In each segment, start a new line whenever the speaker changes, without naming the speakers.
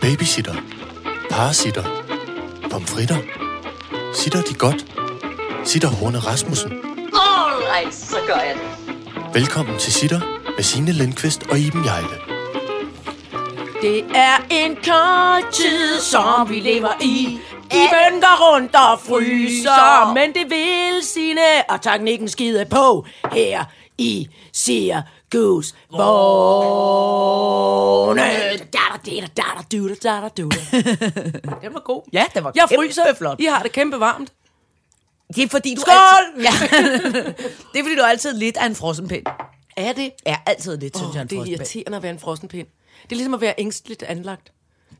Babysitter. Parasitter. Pomfritter. Sitter de godt? Sitter Horne Rasmussen.
Alright, så gør jeg det.
Velkommen til Sitter med Signe Lindqvist og Iben Jejle.
Det er en kort tid, som vi lever i. Iben går rundt og fryser, men det vil sine og teknikken skide på. Her i siger Goose Vågne. Da da da da da da da da Den var god.
Ja, den var
Jeg fryser.
kæmpe flot.
I har det kæmpe varmt.
Det er fordi, du
Skål!
Altid, ja. det er fordi, du er altid lidt af en frossenpind.
Er det?
Ja, altid lidt, synes
Åh,
jeg, en
det er
frossenpind.
irriterende at være en frossenpind. Det er ligesom at være ængstligt anlagt.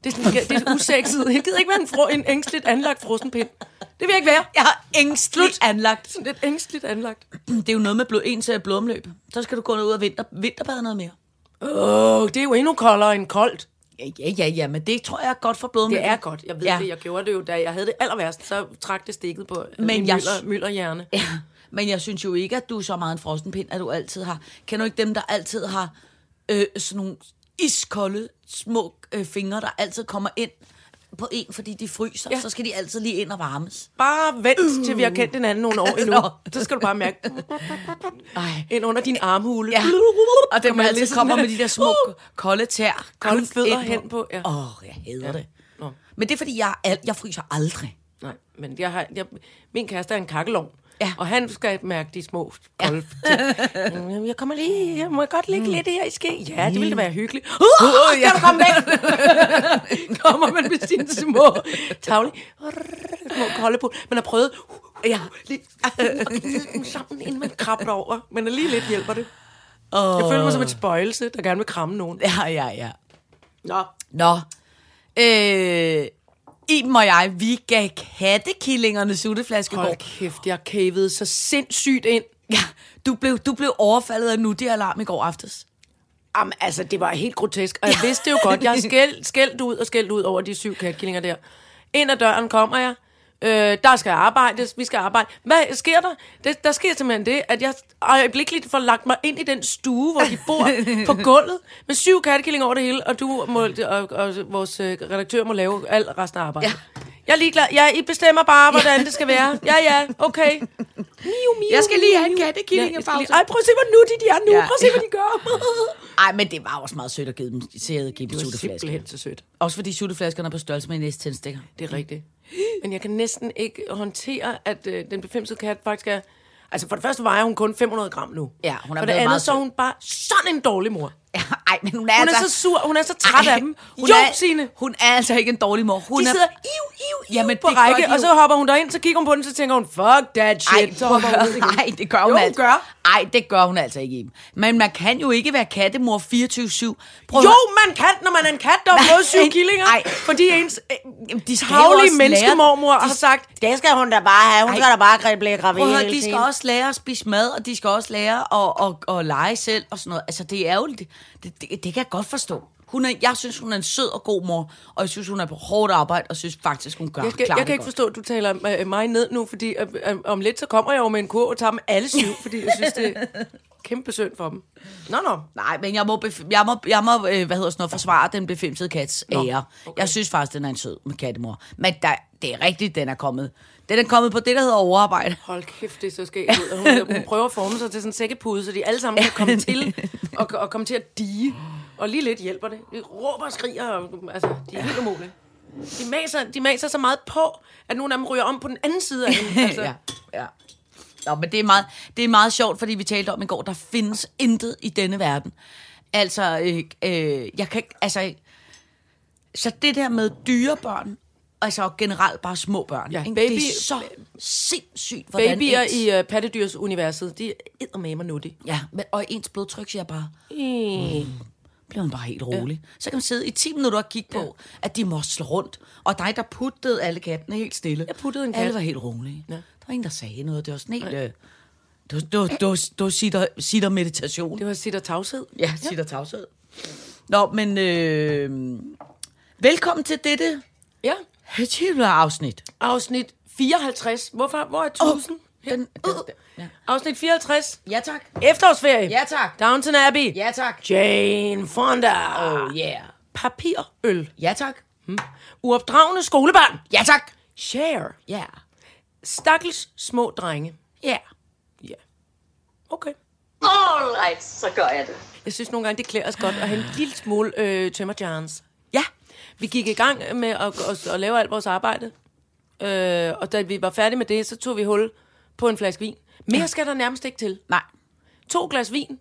Det er, sådan, det er lidt usexet. Jeg gider ikke være en, fro, en ængstligt anlagt frossenpind. Det vil jeg ikke være.
Jeg har ængstligt anlagt.
Sådan lidt ængstligt anlagt.
Det er jo noget med blod, ens øh, blodomløb. Så skal du gå ud og vinter, vinterbade noget mere.
Åh, oh, det er jo endnu koldere end koldt.
Ja, ja, ja, ja, men det tror jeg er godt for blodomløbet.
Det er godt. Jeg ved ja. det. Jeg gjorde det jo, da jeg havde det aller værst. Så trak det stikket på Men min jeg...
jeg-
mylder, mylderhjerne.
Ja, men jeg synes jo ikke, at du er så meget en frossenpind, at du altid har... Kan du ikke dem, der altid har øh, sådan nogle iskolde, små øh, fingre, der altid kommer ind på en, fordi de fryser,
Ja.
ja. så skal de altid lige ind og varmes.
Bare vent, uh. til vi har kendt hinanden nogle år endnu.
Nå.
Så skal du bare mærke
Ej.
ind under din armhule.
Ja. Og dem, der
Kommer
altid
lidt
kommer
sådan-
med de der små uh. kolde tær.
ligesom- Kolde
kun
fødder
ind
hen på, ja.
Åh, oh, jeg hader ja. det.
Nå.
Men det er, fordi jeg, er al- jeg fryser aldrig.
Nej, men jeg har, jeg, min kæreste er en kakkelovn.
Ja.
Og han skal mærke de små kolde ting. Jeg kommer lige, jeg må jeg godt ligge mm. lidt her i ske. Ja, det ville da være hyggeligt. Uh, uh, ja. Kan du komme væk? kommer man med sine små tavle. Små kolde på. Man har prøvet, uh, uh, ja, lige, uh, uh, at gnide dem sammen, inden man krabber over. Men lige lidt hjælper det. Oh. Jeg føler mig som et spøjelse, der gerne vil kramme nogen.
Ja, ja, ja.
Nå.
Nå. Øh, Iben og jeg, vi gav kattekillingerne sutteflaske i går.
Hold kæft, jeg kævede så sindssygt ind.
Ja, du blev, du blev overfaldet af nuttig alarm i går aftes.
Jamen, altså, det var helt grotesk. Og jeg vidste det jo godt. Jeg har skældt, skældt ud og skældt ud over de syv katkillinger der. Ind ad døren kommer jeg. Øh, der skal arbejdes. Vi skal arbejde. Hvad sker der? Det, der sker simpelthen det, at jeg øjeblikkeligt får lagt mig ind i den stue, hvor de bor på gulvet. Med syv kattekillinger over det hele. Og du må, og, og vores øh, redaktør må lave alt resten af arbejdet. Ja.
Ja.
Jeg er ligeglad. Ja, I bestemmer bare, hvordan det skal være. Ja, ja, okay. Miu, miu,
Jeg skal lige have en
miu.
kattekillingepause.
jeg skal lige- Ej, prøv at se, hvor nuttige de er nu.
Ja.
Prøv at se, hvad de gør.
Ej, men det var også meget sødt at give dem, at give dem
Det var
sutteflasker.
simpelthen så sødt.
Også fordi sutteflaskerne er på størrelse med en næstændstikker.
Det er rigtigt. Men jeg kan næsten ikke håndtere, at øh, den befimsede kat faktisk er... Altså, for det første vejer hun kun 500 gram nu.
Ja, hun er
For det
blevet
andet,
meget
så er
sød.
hun bare sådan en dårlig mor. Hun
Ja, Ej, men hun er,
er
altså...
så sur, hun er så træt
Ej,
af dem.
Hun
jo,
er,
Signe!
Hun er altså ikke en dårlig mor. Hun
De
er,
sidder iu, iu, iu
Jamen,
på
det gør
række,
de
og
jo.
så hopper hun derind, så kigger hun på den, så tænker hun, fuck that shit. så hopper hun ud igen.
nej, det gør hun
jo, hun
altså.
gør.
Ej, det gør hun altså ikke. Iben. Men man kan jo ikke være kattemor 24-7. Prøv at
Jo,
høre.
man kan, når man er en kat, der har
Nej,
fået syv
nej.
killinger.
Ej.
Fordi ens øh,
Jamen, de skal jo også
tavlige
lære-
menneskemormor har sagt,
Det skal hun da bare have. Hun
Ej.
Ej. skal da bare blive gravid
Prøv at høre,
hele
de skal
tiden.
også lære at spise mad, og de skal også lære at, at, at, at lege selv og sådan noget. Altså, det er jo... Det, det, det kan jeg godt forstå. Hun er, jeg synes, hun er en sød og god mor, og jeg synes, hun er på hårdt arbejde, og synes faktisk, hun gør
Jeg, skal,
klarer
jeg
det
kan ikke
godt.
forstå, at du taler øh, mig ned nu, fordi øh, øh, om lidt så kommer jeg jo med en kur og tager dem alle syv, fordi jeg synes, det er kæmpe synd for dem. Nå, nå.
Nej, men jeg må, bef- jeg må, jeg må øh, hvad hedder sådan noget, forsvare den befimsede kats Nå, ære. Okay. Jeg synes faktisk, den er en sød kattemor. Men der, det er rigtigt, den er kommet. Den er kommet på det, der hedder overarbejde.
Hold kæft, det er så skægt ud. Og Hun, hun prøver at forme sig til sådan en sækkepude, så de alle sammen kan komme til og, og komme til at dige. Og lige lidt hjælper det. De råber og skriger, og, altså, de er helt umulige. De maser, de maser så meget på, at nogle af dem ryger om på den anden side af hende. Altså,
ja, ja. Nå, men det er, meget, det er meget sjovt, fordi vi talte om i går, der findes intet i denne verden. Altså, øh, øh, jeg kan ikke, altså, så det der med dyrebørn, altså og generelt bare små børn,
Ja,
ja, ikke?
baby-
det er så sindssygt, hvordan
Babyer
ens,
i uh, pattedyrsuniverset, de er med mig nuttige.
Ja, men, og ens blodtryk siger bare,
Mm.
bliver man bare helt rolig. Ja. Så kan man sidde i 10 minutter og kigge på, ja. at de mosler rundt. Og dig, der puttede alle kattene helt stille.
Jeg puttede en kat.
Alle var helt rolige.
Ja.
Ja. Der var ingen, der sagde noget. Det var sådan helt... Øh, du, du, du, du sitter, sitter meditation.
Det var sit og tavshed.
Ja, sitter tavshed. Nå, men... Øh, velkommen til dette
Ja.
afsnit.
Afsnit 54. Hvorfor? Hvor er 1000?
Den, den, den, ja.
Afsnit 54.
ja, tak.
Efterårsferie.
Ja, tak.
Downton Abbey.
Ja, tak.
Jane Fonda.
Oh, yeah.
Papirøl.
Ja, tak.
Uopdragende skolebørn.
Ja, tak.
Share.
Ja.
Stakkels små drenge.
Ja.
Ja. Okay.
All right, så gør jeg det.
Jeg synes nogle gange, det klæder os godt at have en lille smule øh, tømmerjans.
Ja.
Vi gik i gang med at, at, at lave alt vores arbejde. Øh, og da vi var færdige med det, så tog vi hul på en flaske vin. Mere skal der nærmest ikke til.
Nej.
To glas vin,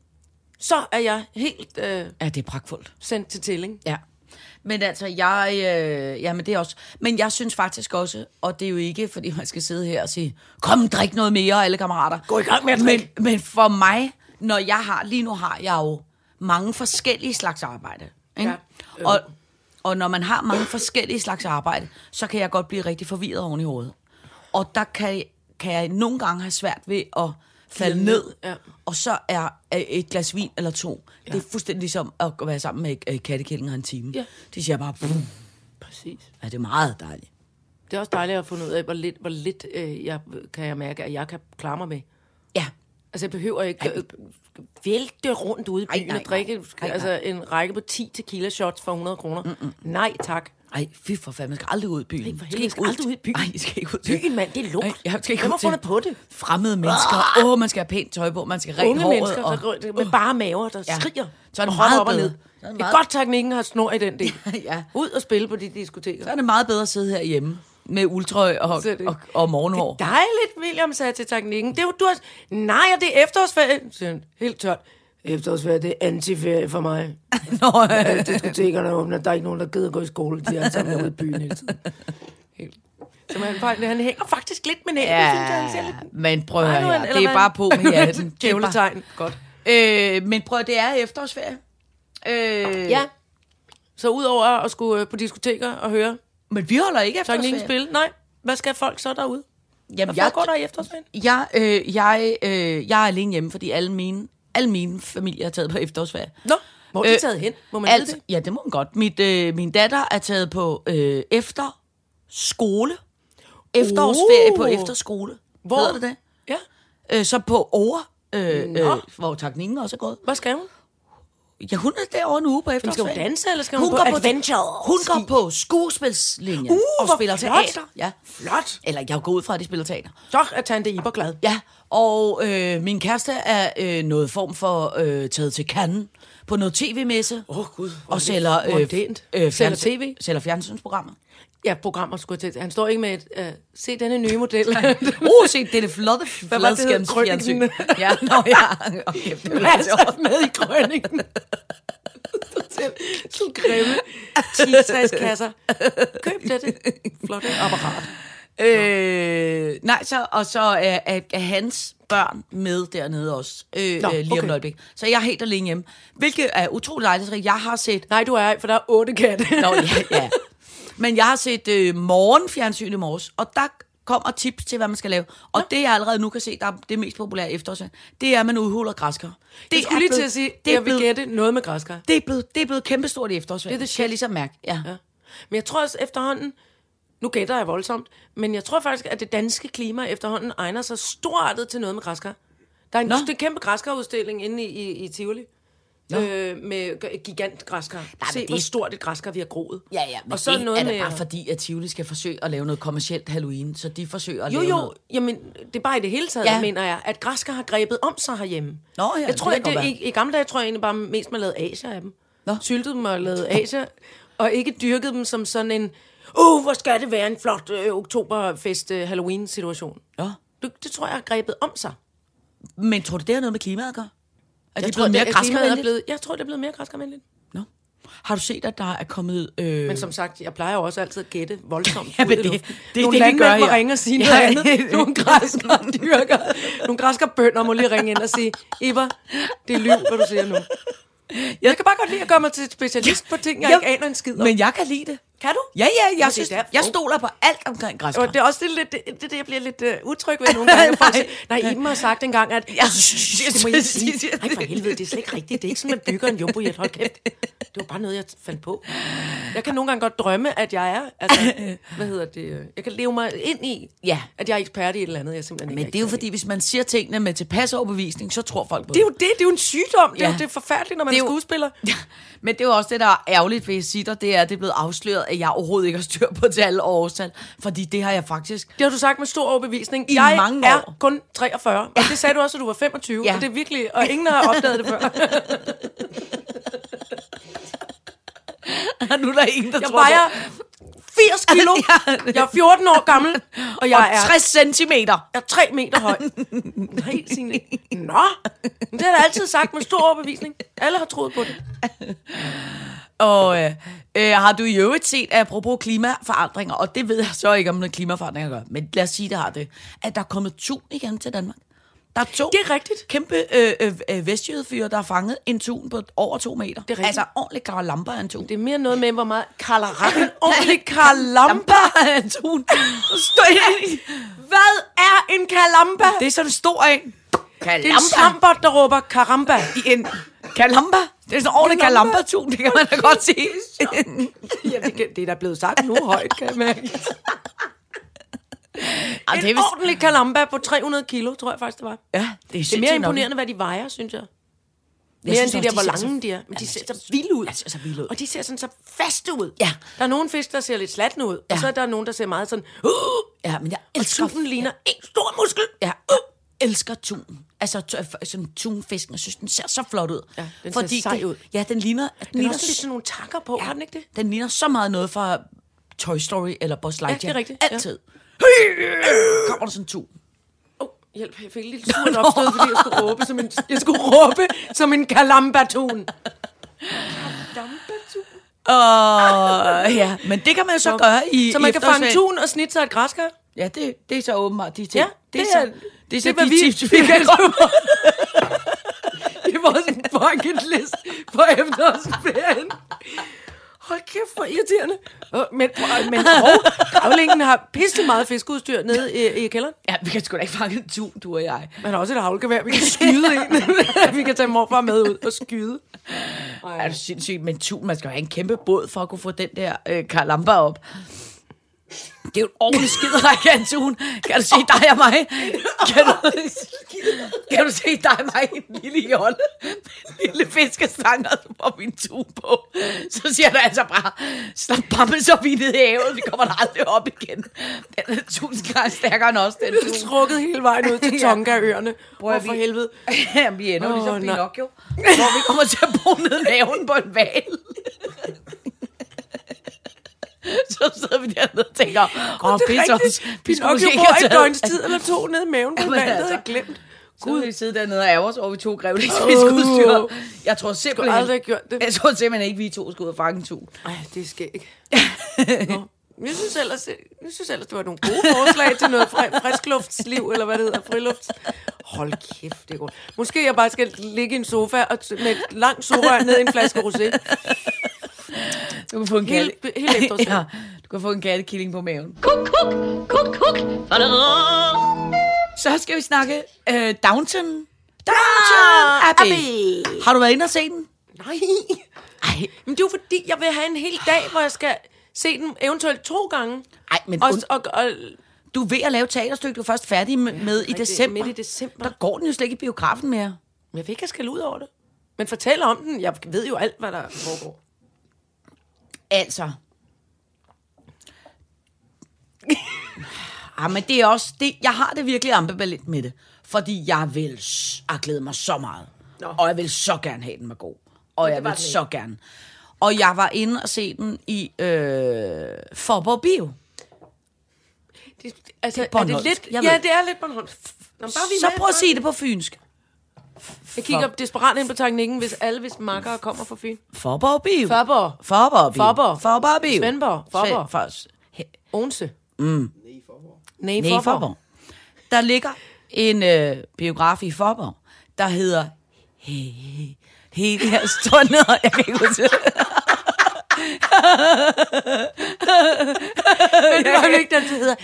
så er jeg helt øh,
Ja, det er pragtfuldt.
sendt til tælling.
Ja. Men altså, jeg... Øh, ja, men det er også... Men jeg synes faktisk også, og det er jo ikke, fordi man skal sidde her og sige, kom, drik noget mere, alle kammerater. Gå i gang med at men, men for mig, når jeg har... Lige nu har jeg jo mange forskellige slags arbejde. Ikke?
Ja.
Ja. øh. Og, og når man har mange forskellige slags arbejde, så kan jeg godt blive rigtig forvirret oven i hovedet. Og der kan, kan jeg nogle gange have svært ved at falde
Falde
ned,
ned,
ja.
ja.
og så er øh, et glas vin eller to. Ja. Det er fuldstændig ligesom at være sammen med øh, kattekællinger en time.
Ja.
De siger bare, "Pff,
Præcis.
ja, det er meget dejligt.
Det er også dejligt at finde ud af, hvor lidt, hvor lidt øh, jeg, kan jeg mærke, at jeg kan klare mig med.
Ja,
Altså, jeg behøver ikke øh, vælte rundt ude i
Ej,
byen
nej,
og drikke
nej. Ej,
altså, en række på 10 tequila shots for 100 kroner. Nej, tak.
ej, fy for fanden, man skal aldrig ud i byen.
for helvede, skal aldrig ud i byen.
Ej, jeg skal ikke ud i
Byen, mand, det er lugt.
Ej, jeg skal ikke
Hvem
ud
har
til
fundet på det?
fremmede mennesker. Åh, oh, man skal have pænt tøj på, man skal rent
Unge
håret.
mennesker
og...
og... der, går- med bare maver, der
Ja.
ja. skriger.
Så er det
og hopper
meget
op og
bedre.
ned.
Så er det
Det
meget-
er godt teknikken har snor i den del.
Ja.
Ud og spille på de diskoteker.
Så er det meget bedre at sidde herhjemme med uldtrøj og,
Så er det-
og, og morgenhår.
Dejligt, William sagde til teknikken. Det er jo, du har... Nej, og det er efterårsferie. Siger han, helt tørt. Efterårsferie, det er antiferie for mig.
Nå, øh,
Alle diskotekerne åbner, der er ikke nogen, der gider gå i skole. De er alle sammen ude i byen hele tiden. Helt. Så man, faktisk- han hænger faktisk lidt med næbet, ja. synes jeg. Han ser lidt...
men prøv at
Ej,
høre
nu
her.
han-
Det
eller
er
hvad?
bare på med hatten. Det er bare-
Djævletegn. Godt.
Øh, men prøv at det er efterårsferie. Øh,
Ja. Så udover at skulle øh, på diskoteker og høre
Men vi holder ikke
Så er ingen
efterårsferie.
spil. Nej, hvad skal folk så derude?
Jamen,
Hvad jeg... foregår der i efterårsferien?
jeg, øh, jeg, øh, jeg er alene hjemme, fordi alle mine, alle mine familier er taget på efterårsferie.
Nå, hvor er de
Øh,
taget hen? Må man
Man altså,
vide det?
ja, det må man godt. Mit, øh, min datter er taget på øh, efter skole. Efterårsferie uh. på efterskole.
Oh. Hvor?
Hedder det det?
Ja,
Øh, så på over, øh,
Nå.
øh, hvor takningen også er gået.
hvad skal hun?
Ja, hun er derovre en uge på
Hun skal
efterårsferie.
hun danse, eller skal hun, på
hun går på
adventure?
Hun går på skuespilslinjen
Uh,
og
hvor
spiller
flot.
teater. Ja.
Flot.
Eller jeg går ud fra, at de spiller teater.
Så er Tante Iber glad.
Ja, og øh, min kæreste er øh, noget form for øh, taget til Cannes på noget tv-messe.
Åh, Gud, hvor er
Og
det-
sælger, øh,
hvor er det- Sælger TV?
Sælger fjernsynsprogrammer.
Ja, programmer skulle jeg til. Han står ikke med et, øh, se denne nye model.
Uh, se, det er det flotte
Hvad var det, det hed?
fladskærmsfjernsyn.
Krøniken?
ja, nå ja. Okay, det
Hvad
bliver
er
sjovt.
så med i krønningen? Så grimme 10 kasser. Køb dette flotte apparat.
Øh, nej, så, og så er, er, er hans børn med dernede også, øh, Nå,
Nå,
øh, lige okay. om
okay.
et øjeblik. Så jeg er helt alene hjemme, hvilket er utroligt dejligt. Så Jeg har set...
Nej, du er ej, for der er otte katte.
Nå, ja, ja. Men jeg har set øh, morgenfjernsyn i morges, og der kommer tips til, hvad man skal lave. Og ja. det, jeg allerede nu kan se, der er det mest populære efterårsvand, det er, at man udhuler græskar. Det
Det
er
jeg skulle lige til
blevet-
at sige,
det er
jeg vil
blevet,
gætte noget med græskar.
det er blevet, det er blevet kæmpestort i efterårsvand.
Det er det
kan jeg ligesom mærke. Ja. ja.
Ja. Men jeg tror også efterhånden, nu gætter jeg voldsomt, men jeg tror faktisk, at det danske klima efterhånden egner sig storartet til noget med græskar. Der er en
Nå.
det er en kæmpe græskarudstilling inde i, i, i Tivoli. Øh, med g- gigant græskar.
men
Se,
det-
hvor stort et græskar vi har groet.
Ja, ja, men
og så
det
noget
er da
med,
bare fordi, at Tivoli skal forsøge at lave noget kommercielt Halloween, så de forsøger at
Jo,
lave
jo,
noget.
jamen, det er bare i det hele taget,
Ja.
ja. mener jeg, at græskar har grebet om sig herhjemme.
Nå ja,
jeg tror,
det
det
kan godt
at det,
være.
i, I gamle dage tror jeg egentlig bare mest, man lavede asier af dem.
Nå.
Nå. Syltede dem og lavede asier, og ikke dyrkede dem som sådan en, uh, hvor skal det være en flot øh, oktoberfest øh, Halloween-situation.
Nå.
Det, det tror jeg har grebet om sig.
Men tror du, det har noget med klimaet at gøre? Er de
Jeg
blevet
det- at
mere
klimaet er
græskervenligt?
blevet, Jeg tror, det er blevet mere græskervenligt.
Nå. Har du set, at der er kommet... Øh...
Men som sagt, jeg plejer jo også altid at gætte voldsomt.
Ja, men
ud i
det-
luften.
det er
Nogle
det, vi gør
landmænd må
her.
ringe og sige
Ja,
noget
ja.
andet. Nogle græsker dyrker. Nogle græsker bønder må lige ringe ind og sige, Eva, det er liv, hvad du siger nu. Jeg kan bare godt lide at gøre mig til specialist på ting, jeg
Ja,
ikke aner en skid om.
Men jeg kan lide det.
Kan du?
Ja, ja, jeg,
det
synes,
er derfor.
jeg stoler på alt omkring græskar.
Og det er også det, lidt, det, det, er det jeg bliver lidt uh, utryg ved nogle gange.
Nej.
nej. nej, Iben har sagt engang, at
Ja,
ja, det må jeg sige. Nej, for helvede, det er slet ikke rigtigt. Det er ikke sådan, man bygger en jumbo hold kæft. Det var bare noget, jeg fandt på. Jeg kan nogle gange godt drømme, at jeg er, altså, hvad hedder det, øh, jeg kan leve mig ind i,
Ja.
at jeg er ekspert i et eller andet, jeg simpelthen
Men
ikke
det er jo fordi, hvis man siger tingene med tilpas overbevisning, så tror folk på
Det er jo det, det er jo en sygdom. Det er,
Ja.
jo, det er forfærdeligt, når man
Det
det
er
er,
jo-
skuespiller.
Men det er jo også det, der er ærgerligt ved sitter, det er, at det er blevet afsløret af at jeg overhovedet ikke har styr på tal og årstal, fordi det har jeg faktisk.
Det har du sagt med stor overbevisning.
I
jeg
mange
er
år.
kun 43, og det sagde du også, at du var 25,
Ja.
og det er virkelig, og ingen har opdaget det før.
nu er der ingen, der
Jeg
tror på-
vejer 80 kilo,
Ja.
jeg er 14 år gammel, og jeg
og
er
60 centimeter.
Jeg er tre meter høj. Helt sine. Nå, men det har jeg altid sagt med stor overbevisning. Alle har troet på det.
Og øh, øh, har du i øvrigt set, apropos klimaforandringer, og det ved jeg så ikke, om noget klimaforandringer gør, men lad os sige, det har det, at der er kommet tun igen til Danmark. Der er to
Det er rigtigt.
kæmpe øh, øh, øh, vestjydefyre, der har fanget en tun på over to meter. Det
er rigtigt.
Altså ordentligt karalamper af en tun.
Det er mere noget med, hvor meget karlarakken, ordentlig karlampa.
af en tun. Stå ind i-
Hvad er en karlampa?
Det er sådan en stor en.
Det er en svampert, der råber karamba.
I en kalamba. Det er sådan en ordentlig
Kalamba.
kalamba-tun, det kan man da godt sige.
Ja, det, kan- det er der blevet sagt nu højt, kan jeg mærke.
Ej,
En ordentlig karamba på 300 kilo, tror jeg faktisk, det var.
ja, Altså, det er,
Det er mere imponerende, hvad de vejer, synes jeg. Mere
synes
end de
også,
der,
de
hvor
ser så-
lange de er. Men de
Ja,
ser
men-
så vilde ud.
Ja, de ser så vilde ud.
Og de ser sådan så faste ud.
Ja.
Der er nogle fisk, der ser lidt slatne ud.
Ja.
Og så er der nogen, der ser meget sådan... Uh,
Ja, men jeg
og
elsker
tuben ligner en stor muskel.
Ja, og elsker tun. Altså t- f- sådan tunfisken, jeg synes, den ser så flot ud.
Ja, den ser sej
det-
ud.
Ja, den ligner, den,
Den har
ligner
også lidt
så,
sådan nogle takker på, ja. har den ikke det?
den ligner så meget noget fra Toy Story eller Buzz Lightyear.
rigtigt, ja.
Altid. Ja. Kommer der sådan en tun.
Åh, oh, hjælp, jeg fik en lille surt opstød, fordi jeg skulle råbe som en, jeg skulle råbe som en kalambatun.
Og ja, men det kan man jo så gøre i
Så man
i
kan fange
efterårsferien.
tun og snitte sig et græskar.
Ja, det, det er så åbenbart de ting.
Ja, det
så,
er-
det er
det
så
er, hvad
de
vi-
tips, vi kan
Det var sådan en bucket list på efterårsferien. Hold kæft, hvor irriterende. Åh, Men, men og, gravlingen har pisse meget fiskeudstyr nede i, i kælderen.
Ja, vi kan sgu da ikke fange en tun, du og jeg.
Man har også et havlgevær, vi kan skyde en. vi kan tage morfar med ud og skyde.
Er du sindssygt? Men tun, man skal jo have en kæmpe båd for at kunne få den der øh, karlamper op. Det er jo en ordentlig skiderække af en tun. Kan du se dig og mig? Kan du, kan du se dig og mig i en lille jolle? En lille fiskestang, og så får vi en tun på. Så siger du altså bare, slap bammen så vi ned i havet, vi kommer der aldrig op igen. Den er tusind gange stærkere end os, den tun.
Trukket hele vejen ud til
Ja.
Tonga-øerne.
at
Hvor for
vi-
helvede.
Jamen, vi ender jo
Åh,
ligesom
nej.
Pinocchio, hvor vi kommer til at bo ned i maven på en val. så sidder vi dernede og tænker, åh,
det er
pisse os.
rigtigt.
Vi skulle
Pinocchio
måske ikke
bor
have
et
taget-
døgns tid eller to nede i maven. på
Jamen,
manden, Det havde
altså.
jeg glemt.
Så ville vi sidde dernede og ærger os over, at vi tog
Åh.
grevlingsfiskudstyr. Jeg tror
Du har
simpelthen...
aldrig gjort det.
Jeg tror simpelthen ikke, vi to skulle ud og fange en tug.
Ej, det skal ikke. Nå. Jeg synes, ellers, jeg synes ellers, det var nogle gode forslag til noget fri, friskluftsliv, eller hvad det hedder, frilufts. Hold kæft, det er godt. Måske jeg bare skal ligge i en sofa og t- med et langt sugerør ned i en flaske rosé.
Du kan få en
Hele-
katte-
hele efterårsferien.
ja, du kan få en kattekilling på maven.
Kuk, kuk, kuk, kuk.
Så skal vi snakke øh, Downton. Downton Abbey. Abbey. Har du været inde og se den?
Nej. Ej. Men det er jo fordi, jeg vil have en hel dag, hvor jeg skal se den eventuelt to gange.
Ej, men
Og,
und-
og, og
Du er ved at lave et teaterstykke, du er først færdig med, med i
rigtig,
december.
midt i december.
Der går den jo slet ikke i biografen mere.
men jeg vil ikke, jeg skal ud over det. Men fortæl om den. Jeg ved jo alt, hvad der foregår.
Altså. ah, men det er også... Det, jeg har det virkelig ambivalent med det. Fordi jeg vil s- har glædet mig så meget. Nå. Og jeg vil så gerne have, den var god. Og jeg vil så gerne. Og jeg var inde og se den i øh, Forborg Bio.
Det, altså,
Det er
det er, er det
bornholmsk.
lidt...
Jeg
ja,
ved-
det er lidt Bornholmsk. Nå, men bare vi er
Så
med,
prøv at
bare-
sige det på fynsk.
Jeg kigger desperat ind på teknikken, hvis alle hvis makkere kommer fra Fyn.
Forborg Bio.
Forborg.
Forborg Bio.
Forborg.
Forborg Bio.
Svendborg. Forborg.
Svend- for-
Odense. Mm. Nej,
Nej, i
Forborg.
Forborg. Der ligger en øh, biograf i Forborg, der hedder... He, he, he, jeg står ned, og jeg kan ikke huske det.
Men det var jo ikke den, der hedder.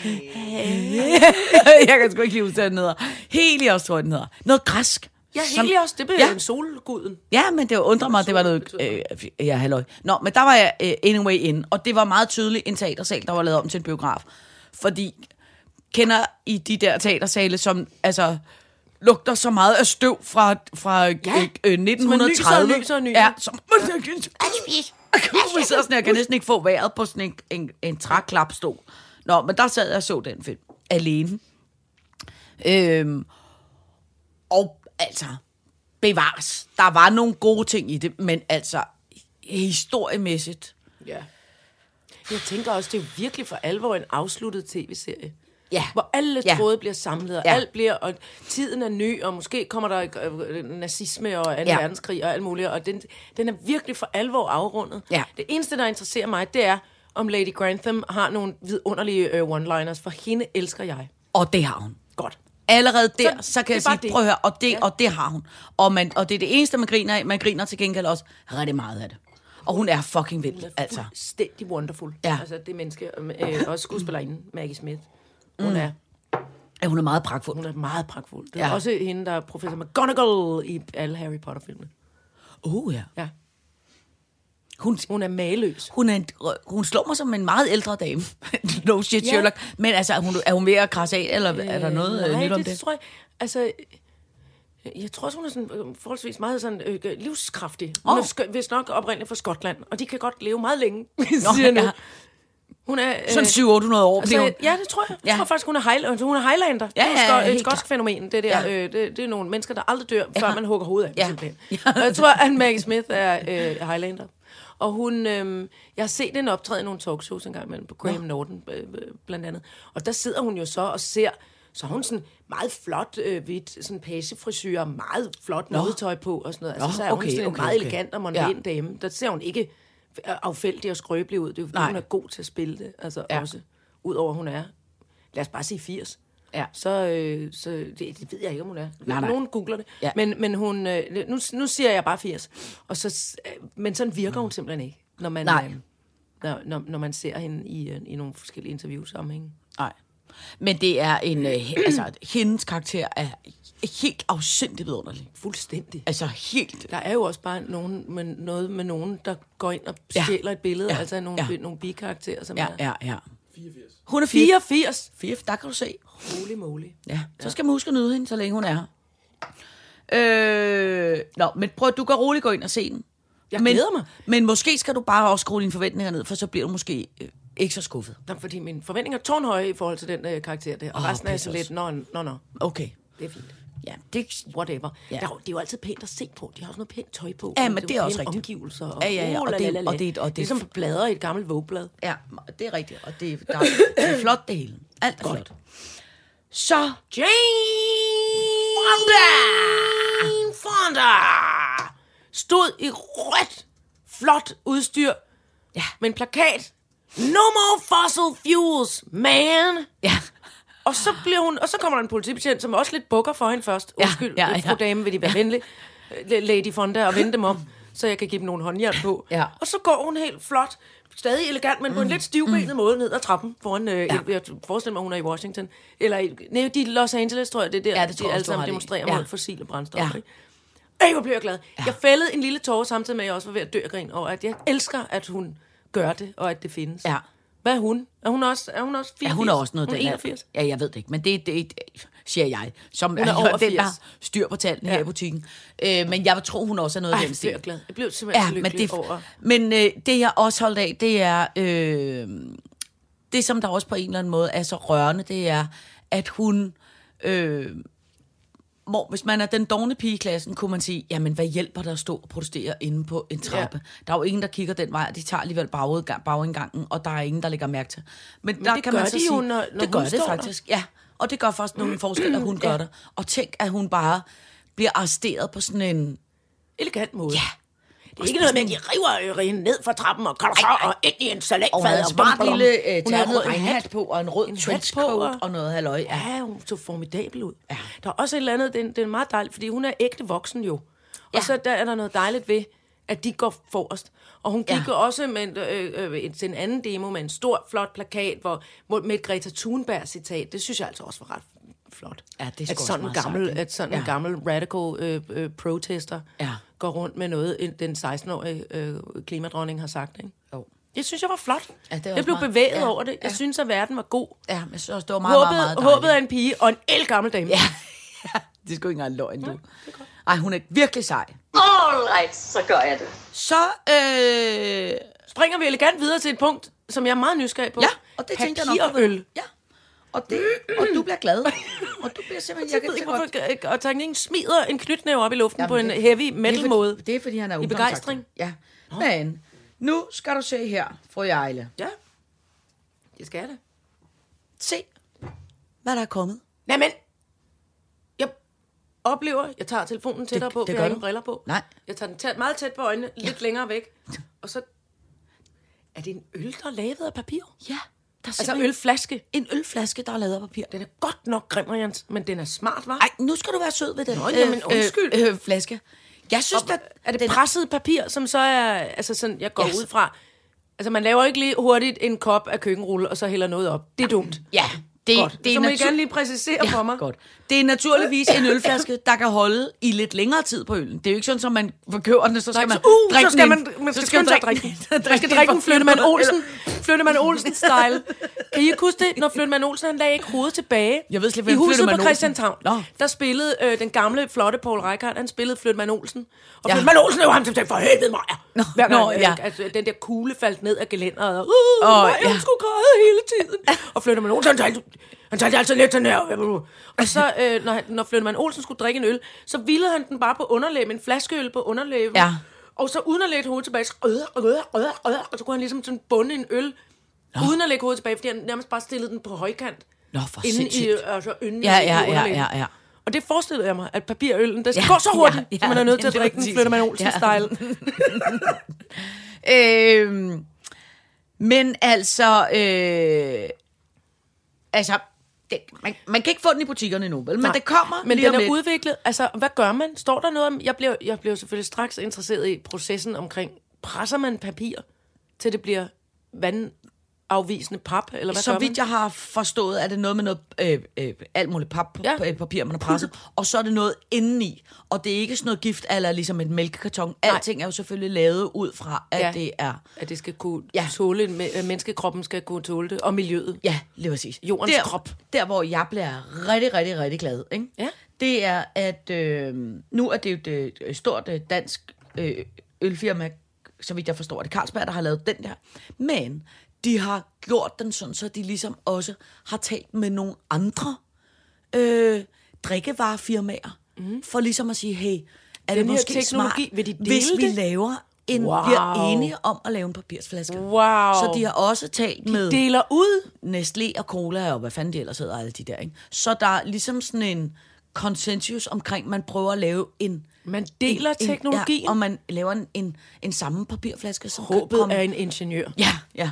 Jeg kan sgu ikke lige huske, hvad den hedder. Helios, tror jeg, den hedder. Noget græsk.
Ja,
som-
Helios, det blev
Ja.
ja. en solguden.
Ja, men det undrer mig, at det var noget... Øh, ja, halløj. Nå, men der var jeg øh, anyway inde, og det var meget tydeligt en teatersal, der var lavet om til en biograf. Fordi, kender I de der teatersale, som altså lugter så meget af støv fra, fra ja, øh, Altså, øh,
lyser og
1930?
lyser og nyser.
Ja, som... Hun sidder sådan, jeg kan næsten ikke få vejret på sådan en, en, en træklapstol. Nå, men der sad jeg og så den film. Alene. Øhm, og altså, bevares. Der var nogle gode ting i det, men altså, historiemæssigt.
Ja. Jeg tænker også, det er virkelig for alvor en afsluttet tv-serie.
Ja.
Hvor alle
Ja.
ja. tråde bliver samlet, og
Ja.
ja. alt bliver, og tiden er ny, og måske kommer der øh, nazisme og 2.
Ja.
Ja. verdenskrig og alt muligt, og den, den er virkelig for alvor afrundet.
Ja.
Det eneste, der interesserer mig, det er, om Lady Grantham har nogle vidunderlige øh, one-liners, for hende elsker jeg.
Og det har hun.
Godt.
Allerede der, så,
Så
så
det
kan
er
jeg
bare
sige, det.
det.
prøv at høre, og det, ja.
Ja.
og det har hun. Og, man, og det er det eneste, man griner af. Man griner til gengæld også rigtig meget af det. Og hun er fucking vild, altså.
Altså. Fuldstændig wonderful.
Ja.
Altså, det menneske, og, øh, også skuespillerinden Maggie Smith. Hun mm. er
Ja, hun er meget pragtfuld.
Hun er meget pragtfuld. Det er
Ja.
ja. også hende, der er professor McGonagall i alle Harry Potter-filmene.
Uh, ja.
Ja.
Hun,
Hun er maløs.
hun, er en, hun slår mig som en meget ældre dame. no shit,
Ja.
Sherlock. Men altså, er hun, er hun ved at krasse af, eller øh, er der noget øh,
Nej,
nyt om
det,
det?
tror jeg... Altså, øh, jeg tror også, hun er sådan, øh, forholdsvis meget sådan, øh, livskraftig. Hun
Åh.
oh. er sk- vist nok oprindeligt fra Skotland, og de kan godt leve meget længe, siger jeg nu.
ja.
Hun er... Øh,
Sådan 700 år
Altså,
bliver hun.
ja, det tror jeg. Jeg
Ja.
tror faktisk, hun er, highlander. hun er highlander.
Ja,
det
ja,
er jo sko-
helt
et skotsk
klart.
fænomen, det der.
Ja.
Ja. Øh, det, det, er nogle mennesker, der aldrig dør, før
Ja.
man hugger hovedet af
Ja.
dem, simpelthen. Og jeg tror, at Maggie Smith er øh, highlander. Og hun, øh, jeg har set hende optræde i nogle talkshows en gang imellem, på Graham Norton øh, øh, blandt andet. Og der sidder hun jo så og ser, så har hun sådan meget flot øh, hvidt, sådan pagefrisyr, meget flot nødetøj på og sådan noget. Altså,
Nå,
så er hun
okay,
sådan en
okay,
meget
okay.
elegant og
Ja.
mondæn dame. Der ser hun ikke øh, affældig og skrøbelig ud. Det er jo, fordi
Nej.
hun er god til at spille det, altså
Ja.
ja. også. Udover hun er, lad os bare sige 80.
Ja.
Så, øh, så det, det ved jeg ikke, om hun er.
Nej, nej.
Nogen googler det.
Ja.
Men, men hun, øh, nu, nu siger jeg bare 80. Og så, s- øh, men sådan virker hun simpelthen ikke, når man,
Mm. Nej.
øh, når, når, når man ser hende i, øh, i nogle forskellige interviewsammenhænge.
Nej. Men det er en, øh, he- altså, hendes karakter er helt afsindigt vidunderlig.
Fuldstændig.
Altså helt
Der er jo også bare nogen med, noget med nogen, der går ind og
Ja.
stjæler et billede,
Ja.
altså nogle,
Ja.
ja. nogle bikarakterer, som
Ja,
er...
ja, ja. 84. Hun er 84.
84!
84, der kan du se.
Holy moly.
Ja. Så skal man huske at nyde hende, så længe hun er her. Øh, nå, men prøv, du kan roligt gå ind og se den.
Jeg
men,
glæder mig.
Men måske skal du bare også skrue dine forventninger ned, for så bliver du måske øh, ikke så skuffet.
Nå, fordi mine forventninger er tårnhøje i forhold til den øh, karakter der. Og
Åh,
oh, resten er så
pis
lidt, nå, nå, nå,
Okay.
det er fint.
Ja, det,
Whatever.
Ja.
Ja. Der, er jo- det er jo altid pænt at se på. De har også noget pænt tøj på.
Ja,
og
men det er
jo
også
pæne
rigtigt.
omgivelser. Og,
Ja, ja, ja, og
oh, la,
det-
la, la, la.
og det- og det-
Ligesom blader i et gammelt vogblad.
ja, det er rigtigt. Og det, der, det er flot, det hele. Alt er Godt. flot. Så,
Jane Fonda! Jane Fonda! Stod i rødt, flot udstyr.
Ja.
Med en plakat. No more fossil fuels, man!
ja,
Og så, bliver hun, og så kommer der en politibetjent, som også lidt bukker for hende først.
Ja,
Undskyld,
ja,
ja,
ja.
ja, fru dame, vil de være venlig? Øh, Lady Fonda, og vende dem om, så jeg kan give dem nogle håndjern på.
Ja.
Og så går hun helt flot, stadig elegant, men på en lidt stivbenet måde ned ad trappen foran, øh, ja. jeg forestiller mig, hun er i Washington. Eller i, nej, de er i Los Angeles, tror jeg, det er der,
Ja,
ja,
det
det
tror
de
jeg
alle
også, du har
sammen
ret i.
demonstrerer
Ja.
mod fossile brændstoffer.
Ja.
Ja. Ikke? Ej, hvor blev jeg glad. Ja. Jeg fældede en lille tårer samtidig med, at jeg også var ved at dø af grin over, at jeg elsker, at hun gør det, og at det findes.
Ja.
Hvad er hun? Er hun også, er hun også 84?
ja, hun er også noget
hun er
den er-
81.
Ja, jeg ved det ikke, men det, det, det siger jeg, som
er over
den, der
80.
har styr på tallene ja.
Ja.
her i butikken. Øh, men jeg tror, hun også er noget af
Ej,
den
jeg
stil.
blev glad. Jeg blev simpelthen
Ja,
så
men
lykkelig
det,
over.
men øh, det jeg også holdt af, det er øh, det som der også på en eller anden måde er så rørende, det er at hun øh, hvor, hvis man er den dogne pige i klassen, kunne man sige, jamen hvad hjælper der at stå og protestere inde på en trappe? Ja. Der er jo ingen, der kigger den vej, og de tager alligevel bagudga- bagindgangen, og der er ingen, der lægger mærke til. Men, men der
det
kan
gør
man så
de
sige,
jo, når- når
det gør
hun
det
står der.
faktisk. Ja, og det gør faktisk nogen forskel, at hun gør det. Og tænk, at hun bare bliver arresteret på sådan en...
Elegant måde.
Ja,
Det er ikke noget med, at de river øh, hende ned fra trappen og kolder for og ind i en
Og hun
salatfad.
havde en smart
blum, blum.
lille øh,
Hun har
ternet
rød hat.
regnhat på, og en rød
En hat på,
trenchcoat
og-
og noget halløj. Ja.
Ja, hun så formidabel ud. Ja. Der er også et eller andet, det er, det er meget dejligt, fordi hun er ægte voksen jo. Ja.
Ja.
Og så der er der noget dejligt ved, at de går forrest. Og hun gik
Ja.
ja. også med en, øh, øh, en- til en anden demo med en stor, flot plakat hvor, hvor- med et Greta Thunberg-citat. Det synes jeg altså også var ret flot.
Ja, det er sgu
at
også
sådan, en
meget sejt,
gammel,
ikke?
at sådan en
Ja.
gammel radical øh, øh, protester
Ja.
går rundt med noget, en- den 16-årige øh, klimadronning har sagt. Ikke?
Jo.
Jeg synes, jeg var flot.
Ja, det er også
jeg blev
meget-
bevæget
ja,
over det. Jeg
ja.
synes, at verden var god.
Ja, men jeg synes også, det var meget,
Håbet,
meget, meget dejligt.
håbet af en pige og en el gammel dame.
Ja, det er sgu ikke engang løgn, du. Ej, hun er virkelig sej.
All Alright, så gør jeg det.
Så, øh,
Springer vi elegant videre til et punkt, som jeg er meget nysgerrig på.
ja, og det tænkte jeg nok. du ved.
Papirøl.
Ja, og, det, og du bliver glad. Og du bliver simpelthen,
Jeg ved
jeg kan
ikke,
ikke, godt
hvorfor og teknikken smider en knytnæve op i luften Jamen, på en
Jamen, det-
heavy
det er
metal
fordi-
måde.
Det er, fordi han er
I
ungdomsagtig.
begejstring.
Ja. Men nu skal du se her, fru Ejle.
Ja, det skal det.
Se, hvad der er kommet.
Nej, men jeg oplever, jeg tager telefonen tættere
Det-
på,
det
for jeg
gør
har ingen
du.
briller på.
Nej.
Jeg tager den tæt, meget tæt på øjnene, lidt længere væk. Og så er det en øl, der er lavet af papir.
Ja, der er
Altså
simpelthen
ølflaske.
en ølflaske, der er lavet af papir.
Den er godt nok grim, Jens, men den er smart, var?
Ej, nu skal du være sød ved den
Nå, jamen, undskyld.
Øh, øh, flaske. Jeg synes,
Og,
at
er det
den,
presset papir, som så er, altså sådan, jeg går
Ja,
yes. ud fra, altså man laver ikke lige hurtigt en kop af køkkenrulle, og så hælder noget op. Det er dumt.
Ja, det,
Godt.
det er
så må
natur-
I gerne lige præcisere for mig.
Godt. Det er naturligvis en ølflaske, der kan holde i lidt længere tid på øllen. Det er jo ikke sådan, at man køber den, og så skal
Nej,
man
så, uh,
drikke
så skal
den
man,
ind-
man skal, skynde sig at drikke den. Man skal drikke
for
en Flyttemand
400
Olsen, Flyttemand Olsen style. Kan I ikke huske det, når Flyttemand Olsen han lagde ikke hovedet tilbage?
Jeg ved slet ikke,
I
hvem
huset
Flyttemand
på
Olsen-
Christianshavn,
Nå.
der spillede øh, den gamle, flotte Paul Reichhardt, han spillede Flyttemand Olsen. Og
Ja.
ja. Flyttemand Olsen var ham til for helvede mig.
Nå,
Hver gang,
nå,
øh,
ja.
altså, den der kugle faldt ned af gelænderet, og uh,
Åh,
oh, mig,
ja.
ja. skulle græde hele tiden. Og Flyttemand Olsen, han talte, han talte altid lidt sådan her. Og så, øh, når, han- når Flyttemand Olsen skulle drikke en øl, så ville han den bare på underlæben, en flaskeøl på underlæben.
Ja.
Og så uden at lægge hovedet tilbage, så, øh, øh, øh, øh, og så kunne han ligesom sådan bunde en øl, Nå. uden at lægge hovedet tilbage, fordi han nærmest bare stillede den på højkant.
Nå, for
inden i,
sindssygt.
altså, inden
Ja,
i
ja, ja,
underlæben.
ja, ja.
Og det forestillede jeg mig, at papirøllen, der skal
Ja,
ja, gå så hurtigt,
ja,
ja,
ja,
ja, man er nødt
det
til at
er
drikke den
præcis.
flytter man Olsen-style. Ja.
Øhm, men altså, øh, altså det, man, man kan ikke få den i butikkerne endnu, vel? Men
Nej,
det kommer
Men
lige
den
om
er
lidt.
udviklet. Altså, hvad gør man? Står der noget om... Jeg blev, jeg blev selvfølgelig straks interesseret i processen omkring, presser man papir, til det bliver vandafvisende pap, eller hvad
Så
gør man?
vidt jeg har forstået, er det noget med noget øh, øh, alt muligt pap,
Ja.
ja. papir, man har presset, og så er det noget indeni. Og det er ikke sådan noget gift, eller ligesom en mælkekarton. Alting er jo selvfølgelig lavet ud fra, at ja.
Ja.
det er...
At det skal kunne
Ja.
ja. tåle, en me- øh, menneskekroppen skal kunne tåle det, og miljøet.
Ja, lige præcis.
Jordens
der,
krop.
Der, hvor jeg bliver rigtig, rigtig, rigtig glad, ikke?
Ja.
det er, at øh, nu er det jo et øh, stort øh, dansk øh, ølfirma, så vidt jeg forstår, er det Carlsberg, der har lavet den der. Men de har gjort den sådan, så de ligesom også har talt med nogle andre øh, drikkevarefirmaer, mm. for ligesom at sige, hey, er det
Mhm. her
måske smart,
teknologi, vil de dele
hvis vi
det?
laver en, wow.
Wow.
bliver enige om at lave en papirsflaske.
Wow.
Så de har også talt med...
Deler ud.
Nestlé og Cola og hvad fanden de ellers hedder, alle de der, ikke? Så der er ligesom sådan en konsensus omkring, man prøver at lave en...
Man deler
en,
teknologien.
En, ja, og man laver en, en, en samme papirflaske, som kan
Håbet
komme...
er en ingeniør.
Ja, ja.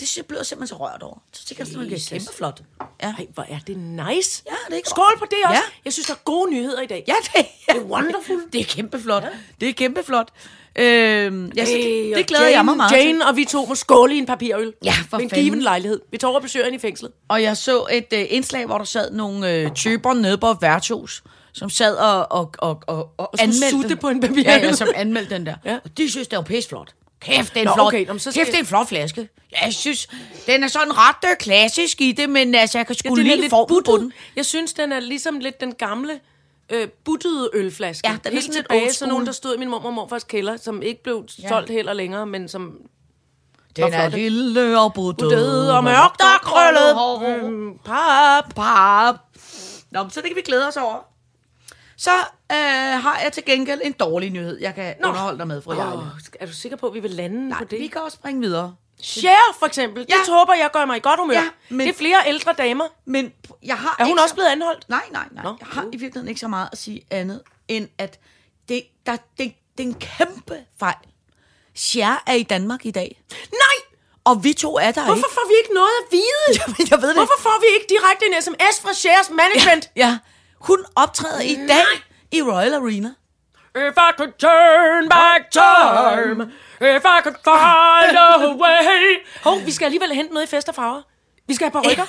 Det synes jeg bliver simpelthen så rørt over. Så tænker jeg, sådan, at det er
Jesus.
kæmpe flot. Ja.
Ej, hvor er det nice.
Ja, det er ikke-
Skål på det også.
Ja.
Ja. Jeg synes, der er gode nyheder i dag.
Ja, det, ja.
Det er wonderful.
Det er kæmpe flot. Ja. Det er kæmpe flot. Øhm, ja, så
Ej,
det,
og
det glæder
Jane,
jeg mig meget til.
Jane og vi to må skåle i en papirøl.
Ja, for
Ved en
fanden.
given lejlighed. Vi tager over besøgeren i fængslet.
Og jeg så et øh, indslag, hvor der sad nogle øh, typer nede på et værtshus, som sad og, og, og, og, og
skulle
anmeldte
sutte
den.
på en papir.
Ja, ja, som anmeldte den der. Ja.
Ja.
Og de synes, det var pisseflot. Kæft, det er en
Nå,
flot,
okay, nå, men så skal-
kæft, det er en flot flaske. Ja, jeg synes, den er sådan ret øh, klassisk i det, men altså, jeg kan sgu ja,
den er
lige
lidt
formen på den.
buttet. Jeg synes, den er ligesom lidt den gamle øh, buttede ølflaske.
Ja, den er
Helt
sådan lidt old
tilbage,
school.
sådan nogen, der stod i min mormor og morfars kælder, som ikke blev
Ja.
solgt heller længere, men som
Den
Hvor
er
flot.
lille og buttet.
døde og mørkt og krøllet. Mm, Pap.
Pap. Nå, men så det kan vi glæde os over. Så øh, har jeg til gengæld en dårlig nyhed, jeg kan Nå. underholde dig med, fru Jarle.
Oh, er du sikker på, at vi vil lande
Nej,
på det?
vi kan også springe videre.
Share for eksempel. Ja.
Ja.
Det håber jeg gør mig i godt humør.
Ja,
Ja,
men-
men... Det er flere ældre damer.
Men p- jeg har
Er hun
ikke
også
så-
blevet anholdt?
Nej, nej, nej. Nå,
Nå,
jeg har
jo.
i virkeligheden ikke så meget at sige andet, end at det, der, det, det er en kæmpe fejl. Cher er i Danmark i dag,
Nej!
og vi to er der
Hvorfor får vi ikke noget at vide?
ikke. Jeg ved det
Hvorfor får vi ikke direkte en sms fra Shares management?
ikke. Ja, hun optræder i dag i Royal Arena.
If I could turn back time, if I could find a way. Hov, vi skal alligevel hente noget i fest og farver. Vi skal have på rykker. Ja.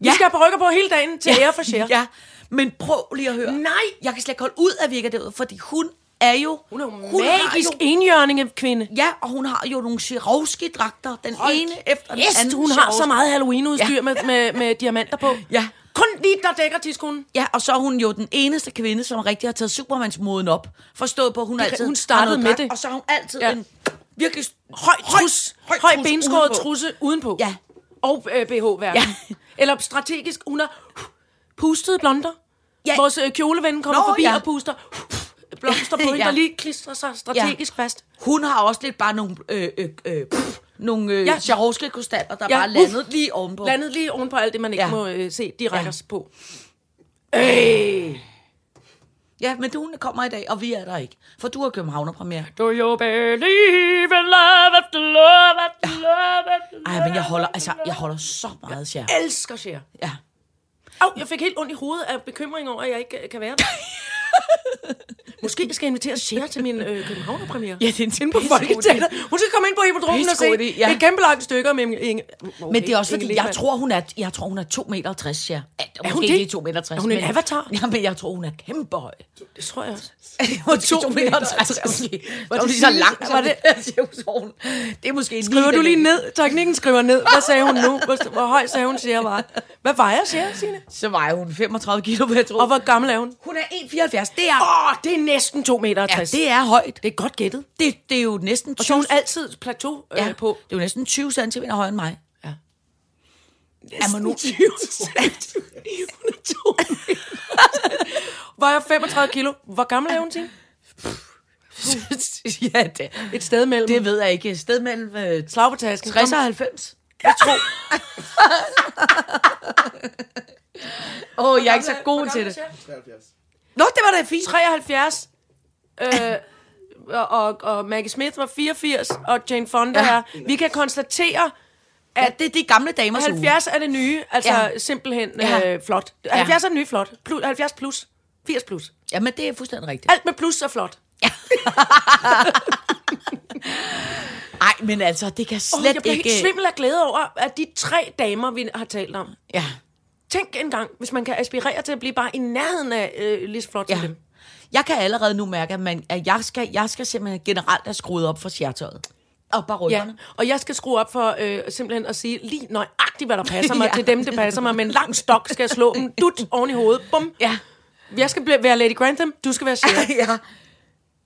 Vi skal have på rykker på hele dagen til ære for Cher.
Ja, men prøv lige at høre.
Nej.
Jeg kan slet ikke holde ud af, at vi ikke er derude, fordi hun er jo...
Hun er jo
hun har
magisk
Jo,
enhjørning af kvinde.
ja, og hun har jo nogle Shirovski-dragter, den ene efter den
Yes,
anden.
hun har så
Swarovski.
meget Halloween-udstyr ja. med, med, med diamanter på.
Ja.
Kun lige der dækker tidskonen.
Ja, og så er hun jo den eneste kvinde, som rigtig har taget Supermans-moden op. Forstået på, at hun
Det-
altid
hun startede
har noget
med
dragt,
det.
Og så har hun altid
Ja.
ja. en virkelig
Høj trus, høj, høj, høj
trus
benskåret
udenpå.
trusse udenpå.
Ja.
Og øh, BH-værken. Ja.
Ja.
Eller strategisk, hun har pustede blonder. Ja.
Ja.
Vores øh, kjoleven kommer Nå,
Nå,
forbi ja.
ja.
og puster blomster på hende, ja.
Ja.
der lige klistrer sig strategisk ja. fast.
Hun har også lidt bare nogle... Øh, øh, øh, pff, nogle øh,
Ja.
ja. sjarovske krystaller, der
Ja,
ja. bare
uff.
landede lige ovenpå.
Landet lige ovenpå alt det, man ikke ja.
Ja.
må øh, se, de rækker
Ja.
sig på. Øh.
Ja, men hun kommer i dag, og vi er der ikke. For du har Københavner-premiere.
Do you believe in love after love after love after love?
Ej, men jeg holder, altså, jeg holder så meget, Cher.
Jeg elsker Cher.
Ja.
Au, jeg fik helt ondt i hovedet af bekymring over, at jeg ikke øh, kan være der. Måske jeg skal invitere Cher til min øh, Københavner-premiere.
Ja, det er en
Inde på
pissegod
Folketeater. Hun skal komme ind på hippodromen og se
Pissegod idé, ja.
et kæmpe langt stykke med Inge. Okay,
Men det er også
Inge
fordi,
Lehmann.
jeg tror, hun er, jeg tror, hun er 2,60 meter, ja. Er
hun det?
ikke lige 2,60 meter.
Er hun en avatar?
Ja, men jeg tror, hun er kæmpe høj.
Det tror jeg også.
Hun er 2,60 meter. Var det så langt?
Var
Var det? Det er måske
Skriver du
den-
lige ned? Teknikken skriver ned. Hvad sagde hun nu? Hvor, hvor høj sagde hun Cher var? Hvad vejer Cher, Signe?
Så vejer hun 35 kilo, vil jeg tro.
Og hvor gammel er hun?
Hun er 1,74. Det er...
Åh, oh, det er næsten 2,60 meter.
Ja, det er højt.
det er godt gættet.
Det, det er jo næsten 20,
Og så er hun altid plateau øh,
ja,
på.
på. Det er jo næsten 20 cm højere end mig.
Ja.
Er man nu...
20 Var jeg 35 kilo? Hvor gammel er hun, Signe?
ja, det,
Et sted mellem.
det ved jeg ikke. Et sted mellem øh,
slag på tasken.
60 og 90.
Jeg tror.
Åh, oh, jeg er ikke så god til det. Nå, det var da fint.
73. Øh, og, og, og Maggie Smith var 84, og Jane Fonda ja. er. Vi kan konstatere,
Ja, det er de gamle damers uge.
70 er det nye, altså ja.
Ja.
simpelthen
Ja.
øh, flot. 70 er det nye flot. Plus, 70 plus. 80 plus.
Jamen, det er fuldstændig rigtigt.
Alt med plus er flot.
Nej, men altså, det kan
Åh,
slet
jeg bliver
ikke...
helt svimmel af glæde over, at de tre damer, vi har talt om,
Ja.
Tænk engang, hvis man kan aspirere til at blive bare i nærheden af øh, lige så flot ja.
ja.
som dem.
Jeg kan allerede nu mærke, at, man, at jeg, skal, jeg skal simpelthen generelt have skruet op for sjærtøjet. Og bare
Ja,
rykkerne.
og jeg skal skrue op for øh, simpelthen at sige lige nøjagtigt, hvad der passer mig ja. til dem, det passer mig. Med en lang stok skal jeg slå dem dut oven i hovedet. Bum.
Ja.
Jeg skal blive, være Lady Grantham, du skal være Cher.
ja.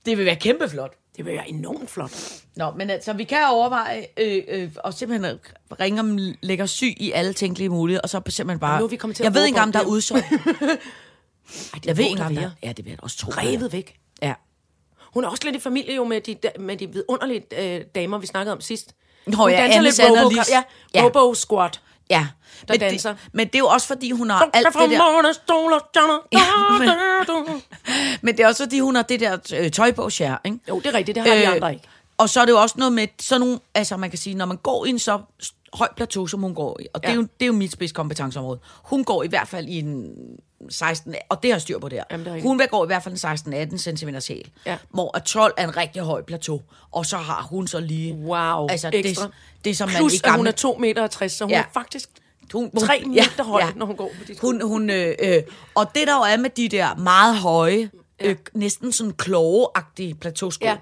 Det vil være kæmpe flot.
Det vil være enormt flot.
Nå, men altså, vi kan overveje øh, øh, og simpelthen ringe om lægger syg i alle tænkelige muligheder, og så simpelthen bare...
nu er vi kommet til at
jeg ved
råbe
ikke engang,
om
om der er
det.
udsolgt.
Ej, det
Jeg ved ikke engang,
om
om der Ja, det vil jeg da også tro.
Revet væk.
Ja.
Hun er også lidt i familie jo med de, da- med de vidunderlige øh, damer, vi snakkede om sidst.
Nå
Hun
ja,
danser
Anne
lidt
Sander
robo,
Lis.
ja,
Ja.
robo squat.
Ja. men
danser.
Det, men det er jo også, fordi hun har alt det der... Men det er også, fordi hun har det der øh, tøj på, Cher, ikke?
Jo, det er rigtigt, det har øh, de andre ikke.
Og så er det jo også noget med sådan nogle, altså man kan sige, når man går i en så s- høj plateau, som hun går i, og det,
Ja.
er, jo, det er jo mit spidskompetenceområde. Hun går i hvert fald i en 16, og det har jeg styr på der.
Jamen, det er rigtigt.
hun vil gå i hvert fald en 16-18 cm hæl,
Ja.
hvor at 12 er en rigtig høj plateau, og så har hun så lige...
Wow,
altså,
ekstra.
Det, det er som man
Plus,
i
at
gamle
hun er 2 meter og 60, så hun ja.
Ja.
er faktisk
hun,
tre
ja,
meter høj,
ja.
når hun går på dit
hun, hun, øh, øh, Og det der jo er med de der meget høje, øh, næsten sådan klogeagtige plateausko,
Ja.
ja.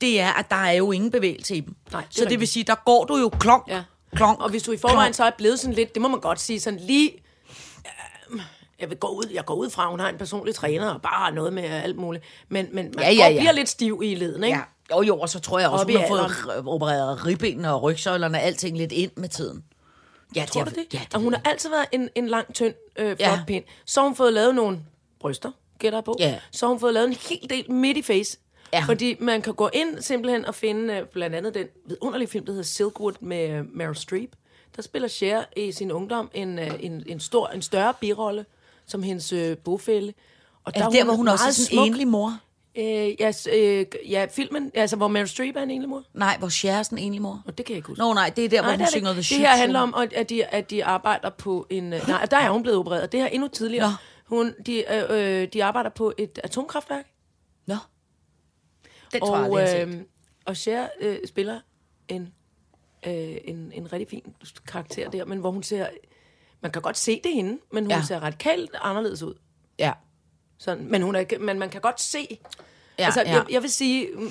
det er, at der er jo ingen bevægelse i dem.
Nej, det er
så det vil
rigtigt.
sige, der går du jo klonk,
Ja.
ja. klonk.
Og hvis du i forvejen
klonk.
så er blevet sådan lidt, det må man godt sige, sådan lige... øh, Jeg, vil gå ud, jeg går ud fra, at hun har en personlig træner og bare har noget med alt muligt. Men, men man
Ja, ja,
går-
ja.
bliver lidt stiv i leden, ikke?
Ja. Jo, jo, og så tror jeg også,
Op i
hun har fået r- opereret ribbenene og rygsøjlerne og alting lidt ind med tiden. Ja,
Tror du
jeg-
det?
Ja,
og hun har altid været en, en lang, tynd, øh, flot ja.
Ja.
pind. Så har hun fået lavet nogle bryster, gætter jeg på.
Ja.
Så har hun fået lavet en hel del midt i face.
Ja.
Fordi man kan gå ind simpelthen og finde øh, blandt andet den vidunderlige film, der hedder Silkwood med øh, Meryl Streep. Der spiller Cher i sin ungdom en, øh, en, en, stor, en større birolle som hendes øh, bofælle. Og
er det altså, der, hvor hun også er
meget
sådan
smuk.
en enlig mor?
Øh, ja, s- øh, ja, filmen, altså hvor Meryl Streep er en enlig mor.
Nej, hvor Cher er sådan en enlig mor.
Og det kan jeg ikke huske.
Nå, nej, det er der, hvor
Nej,
hun
det er det
synger
ikke.
The
Det
Shoot
her handler
Show.
om, at- at de, at de arbejder på en... øh, Nej, der er hun blevet opereret. Det her er endnu tidligere.
Nå.
Hun, de, øh, øh, de arbejder på et atomkraftværk.
Nå. Det tror jeg aldrig,
Og,
jeg har set.
øh, og Cher øh, spiller en, øh, en, en rigtig fin karakter der, men hvor hun ser... Man kan godt se det hende, men hun ja.
Ja.
ser radikalt anderledes ud.
Ja.
Sådan, men, hun er, ikke- men man kan godt se... Ja,
Ja,
altså,
ja.
Jeg, jeg vil sige... mm,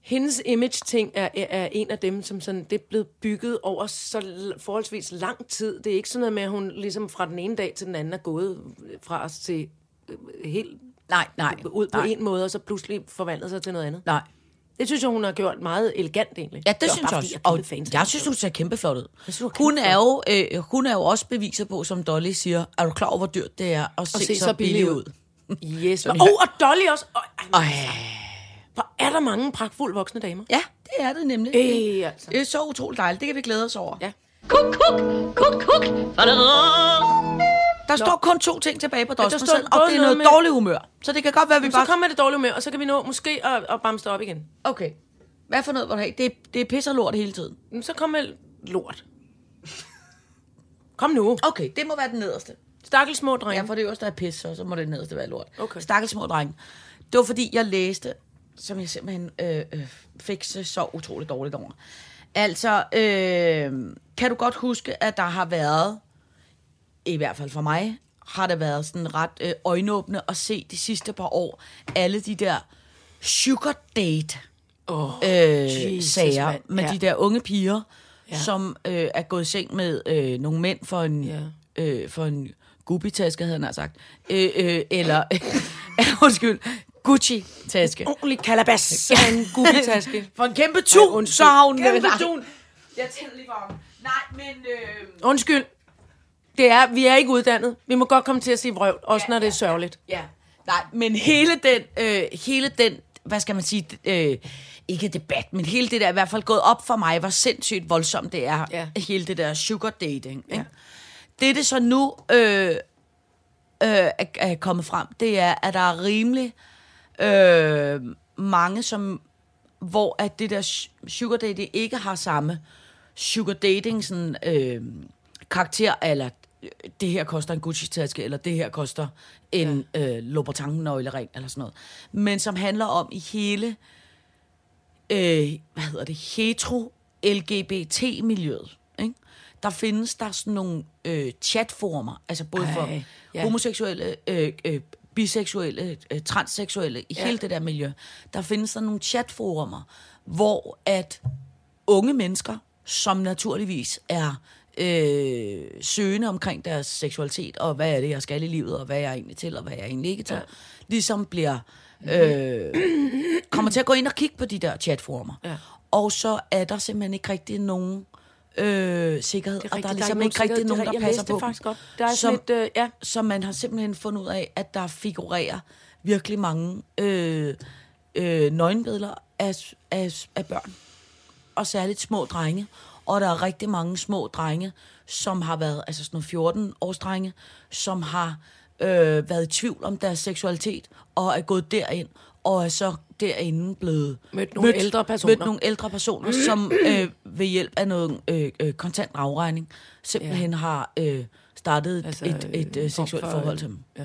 hendes image-ting er, er, er en af dem, som sådan, det er blevet bygget over så l- forholdsvis lang tid. Det er ikke sådan noget med, at hun ligesom fra den ene dag til den anden er gået fra os til øh, helt
Nej, nej.
ud på
nej,
en måde, og så pludselig forvandlet sig til noget andet.
Nej.
Det synes jeg, hun har gjort meget elegant egentlig.
Ja, det
er
synes
bare,
jeg
fordi
også.
er
Og
kæmpe fan af
jeg
hende.
synes, hun ser kæmpe flot ud.
synes, hun er
Hun
kæmpe
er, jo, øh, hun er jo også beviser på, som Dolly siger, er du klar over, hvor dyrt det er at se,
se
så,
så
billig,
billig
ud?
Yes. Og, oh, og Dolly også. Og, ej,
Ej.
hvor er der mange pragtfulde voksne damer?
Ja, det er det nemlig.
Øh, altså.
Det er så utroligt dejligt. Det kan vi glæde os over.
Ja.
Kuk, kuk, kuk, kuk.
Der står kun to ting tilbage på
der
Dawson's
står
Sand, og
både
det er
noget
noget
med-
dårligt humør. Så det kan godt være, at vi
Så
bare...
kommer det dårligt med, og så kan vi nå måske at, at bamse det op igen.
Okay. Hvad for noget var det have? Det er, det er pis og lort hele tiden.
Men så kommer lort. Kom nu.
Okay, det må være den nederste.
Stakkels små
Ja,
drenge.
for det øverste er pis, og så må det nederste være lort.
Okay.
Stakkels små drenge. Det var fordi, jeg læste, som jeg simpelthen øh, øh, fik så, så utroligt dårligt over. Altså, øh, kan du godt huske, at der har været, i hvert fald for mig, har det været sådan ret øh, øjenåbne at se de sidste par år, alle de der sugar date
Åh,
øh,
Jesus,
sager
mand.
med
Ja.
de der unge piger, ja. som øh, er gået i seng med øh, nogle mænd for en, ja.
Ja.
øh, for en gubbitaske, havde han sagt. Øh, øh, eller, undskyld, Gucci-taske.
Ordentlig kalabas.
Så en gubbitaske.
For en kæmpe tun, så har hun...
Kæmpe
Nej.
tun.
Jeg tænder lige for Nej, men... Øh...
Undskyld. Det er, vi er ikke uddannet. Vi må godt komme til at sige vrøvl, også når det er sørgeligt.
Ja, nej, men hele den, øh, hele den, hvad skal man sige, øh, ikke debat, men hele det der i hvert fald gået op for mig, hvor sindssygt voldsomt det er, ja.
Ja.
hele det der sugar dating. Ja. Det er det så nu øh, øh, er, er kommet frem, det er, at der er rimelig øh, mange, som hvor at det der su- sugar dating ikke har samme sugar dating sådan, øh, karakter, eller øh, det her koster en Gucci-taske, eller det her koster en ja. øh, Louboutin-nøglering, eller sådan noget. Men som handler om i hele, øh, hvad hedder det, hetero-LGBT-miljøet, ikke? Der findes der sådan nogle øh, chatformer, altså både Ej, for
Ej,
ja.
ja.
homoseksuelle, øh, øh, biseksuelle, øh, transseksuelle, i ja. hele det der miljø, der findes der nogle chatforumer, hvor at unge mennesker, som naturligvis er øh, søgende omkring deres seksualitet, og hvad er det, jeg skal i livet, og hvad er jeg egentlig til, og hvad er jeg egentlig ikke til, ja. ligesom bliver, øh, kommer til at gå ind og kigge på de der chatforumer.
Ja.
Og så er der simpelthen ikke rigtig nogen øh, sikkerhed,
Det
og der
rigtigt,
er ligesom
nogen
ikke rigtig
sikkerhed.
nogen,
Det
der
er- jeg læste
passer
det
på dem.
faktisk godt. Der er
Som-
sådan lidt, øh, ja.
så man har simpelthen fundet ud af, at der figurerer virkelig mange øh, øh, nøgenbilleder af, af, af børn. Og særligt små drenge. Og der er rigtig mange små drenge, som har været, altså sådan nogle 14 års drenge, som har øh, været i tvivl om deres seksualitet, og er gået derind, og er så derinde blevet
Mødt nogle ældre personer.
Mødt nogle ældre personer, som øh, ved hjælp af noget øh, øh, kontant afregning, simpelthen ja. har øh, startet altså,
Altså,
et, et øh,
en form
seksuelt
for-
forhold til dem.
Ja.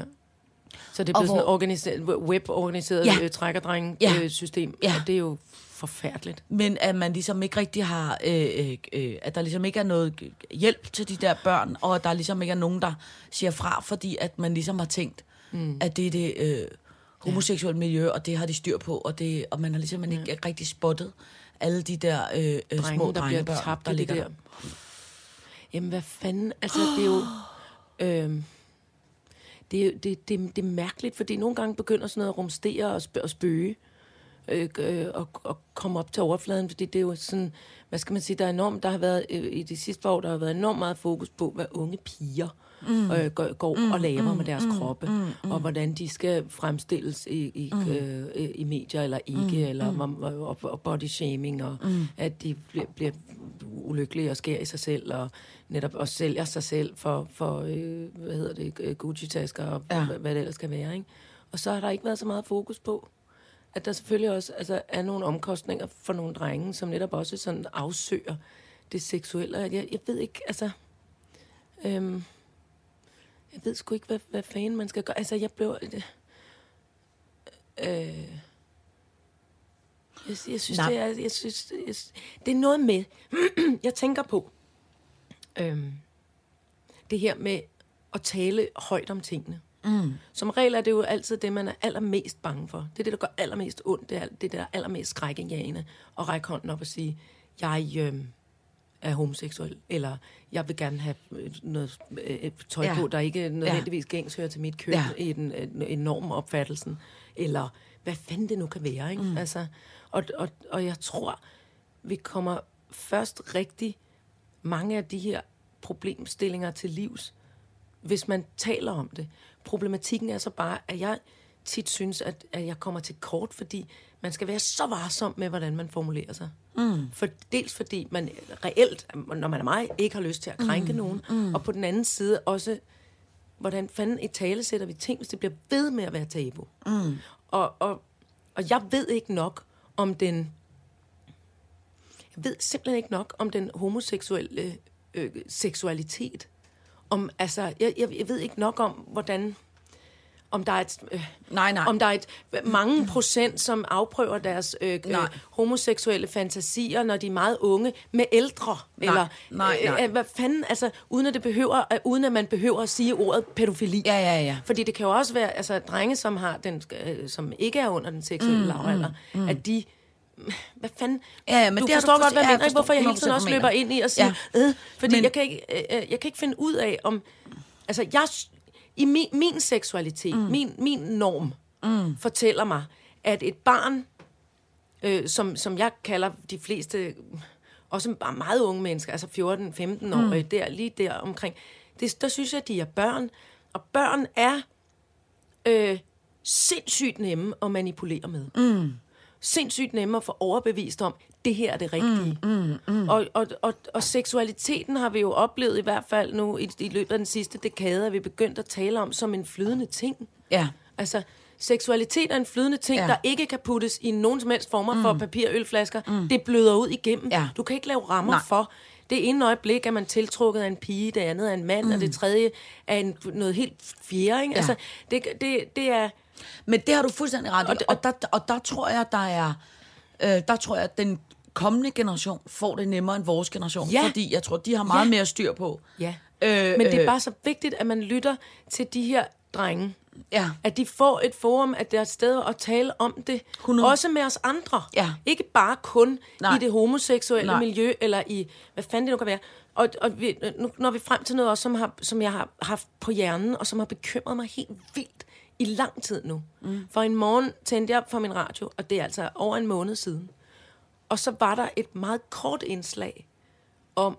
Så det er
Og
blevet sådan et
hvor-
organiseret, web-organiseret
Ja.
ja. øh, trækkerdreng
Ja.
øh, system,
Ja.
ja. og det er jo forfærdeligt.
Men at man ligesom ikke rigtig har, øh, øh, øh, at der ligesom ikke er noget hjælp til de der børn, og at der ligesom ikke er nogen, der siger fra, fordi at man ligesom har tænkt, mm. at det er det øh, homoseksuelle miljø, og det har de styr på, og, det, og man har ligesom ja. ikke rigtig spottet alle de der øh, øh,
Drenge,
små
der bliver
drengebørn,
tabt
der
i det
ligger
der.
der.
Jamen, hvad fanden? Altså, det er jo... Øhm, det, er jo- det, det, det er mærkeligt, fordi nogle gange begynder sådan noget at rumstere og, sp- og spøge øh, øh, og, og komme op til overfladen, fordi det er jo sådan, hvad skal man sige, der er enormt, der har været, øh, i de sidste par år, der har været enormt meget fokus på, hvad unge piger mm. øh, går, går mm, og laver mm, med deres mm, kroppe, mm, og hvordan de skal fremstilles i, i, mm. øh, øh, i medier eller ikke, mm, eller mm. Og, og body shaming, og mm. at de bliver, bliver ulykkelige og skærer i sig selv, og netop også sælger sig selv for, for øh, hvad hedder det, øh, Gucci-tasker og
Ja.
ja. hvad det ellers kan være, ikke? Og så har der ikke været så meget fokus på, at der selvfølgelig også altså, er nogle omkostninger for nogle drenge, som netop også sådan afsøger det seksuelle. Og Jeg, jeg ved ikke, altså... Øhm, jeg ved sgu ikke, hvad, hvad fanden man skal gøre. Altså, jeg blev... Øh, øh, jeg, jeg synes,
Nej.
det er, jeg synes, jeg, det er noget med... jeg tænker på... Øhm, det her med at tale højt om tingene. Mm. Mm. Som regel er det jo altid det, man er allermest bange for. Det er det, der gør allermest ondt. Det er alt det, der er allermest skrækindjagende. Og række hånden op og sige, jeg øh, er homoseksuel, eller jeg vil gerne have øh, noget øh, tøj
Ja.
ja. på, der ikke nødvendigvis gængs hører til mit køn
Ja.
ja. i den øh, enorme opfattelsen. Eller hvad fanden det nu kan være. Ikke? Mm. Altså, og, og, og jeg tror, vi kommer først rigtig mange af de her problemstillinger til livs, hvis man taler om det. Problematikken er så bare, at jeg tit synes, at, at jeg kommer til kort, fordi man skal være så varsom med, hvordan man formulerer sig. Mm. For dels fordi man reelt, når man er mig, ikke har lyst til at krænke mm. nogen, mm. og på den anden side også, hvordan fanden i tale sætter vi ting, hvis det bliver ved med at være tabu. Mm. Og, og, og jeg ved ikke nok om den jeg ved simpelthen ikke nok om den homoseksuelle øh, seksualitet. Om, altså, jeg, jeg, jeg ved ikke nok om, hvordan... Om der er et, øh,
Nej, nej.
Om der er et, mange procent, som afprøver deres øh, øh,
Nej.
homoseksuelle fantasier, når de er meget unge, med ældre.
Nej,
eller,
nej, nej.
Øh, øh, hvad fanden, altså, uden at, det behøver, øh, uden at man behøver at sige ordet pædofili.
Ja, ja, ja.
Fordi det kan jo også være, altså drenge, som, har den, øh, som ikke er under den seksuelle mm, lavalder, mm, at de... Hvad fanden?
Ja, ja, men
du
det har
forstår
du
godt,
forstå-
hvad jeg
ja, jeg
mener, ikke? hvorfor jeg hele tiden
forstår
også
100%
løber
hvad du
ind i og siger,
mener.
øh, fordi
Men-
men, jeg, kan ikke, øh, øh, jeg kan ikke finde ud af, om... Altså, jeg, i min, min seksualitet, mm. min, min norm, mm. fortæller mig, at et barn, øh, som, som jeg kalder de fleste, også bare meget unge mennesker, altså 14-15 år, mm. der, lige der omkring, det, der synes jeg, de er børn. Og børn er øh, sindssygt nemme at manipulere med. Mm. Sindssygt nemme at få overbevist om, det her er det rigtige. Mm, mm, mm. Og, og, og, og seksualiteten har vi jo oplevet i hvert fald nu i, i løbet af den sidste dekade, at vi begyndt at tale om som en flydende ting.
Ja.
Altså, seksualitet er en flydende ting,
Ja.
ja. der ikke kan puttes i nogen som helst former mm. for papir og ølflasker. Mm. Det bløder ud igennem.
Ja.
Du kan ikke lave rammer
Nej.
Nej. for. Det ene øjeblik er man tiltrukket af en pige, det andet af en mand, mm. og det tredje er en, noget helt fjerde. Ikke? Ja.
Ja.
Altså, det, det, det er...
Men det har du fuldstændig ret i, og,
Og det-
og, der, og der tror jeg, der er, øh, der tror jeg, at den kommende generation får det nemmere end vores generation,
Ja.
fordi jeg tror, de har meget ja.
Ja.
mere styr på.
Ja.
Øh,
Men det
øh,
er bare så vigtigt, at man lytter til de her drenge.
Ja.
At de får et forum, at der er et sted at tale om det.
100.
Også med os andre.
Ja.
Ikke bare kun
Nej.
Nej. i det homoseksuelle
Nej.
Nej. miljø, eller i, hvad fanden det nu kan være. Og, og vi, nu når vi frem til noget også, som, har, som jeg har haft på hjernen, og som har bekymret mig helt vildt i lang tid nu. Mm. For en morgen tændte jeg for min radio, og det er altså over en måned siden. Og så var der et meget kort indslag om,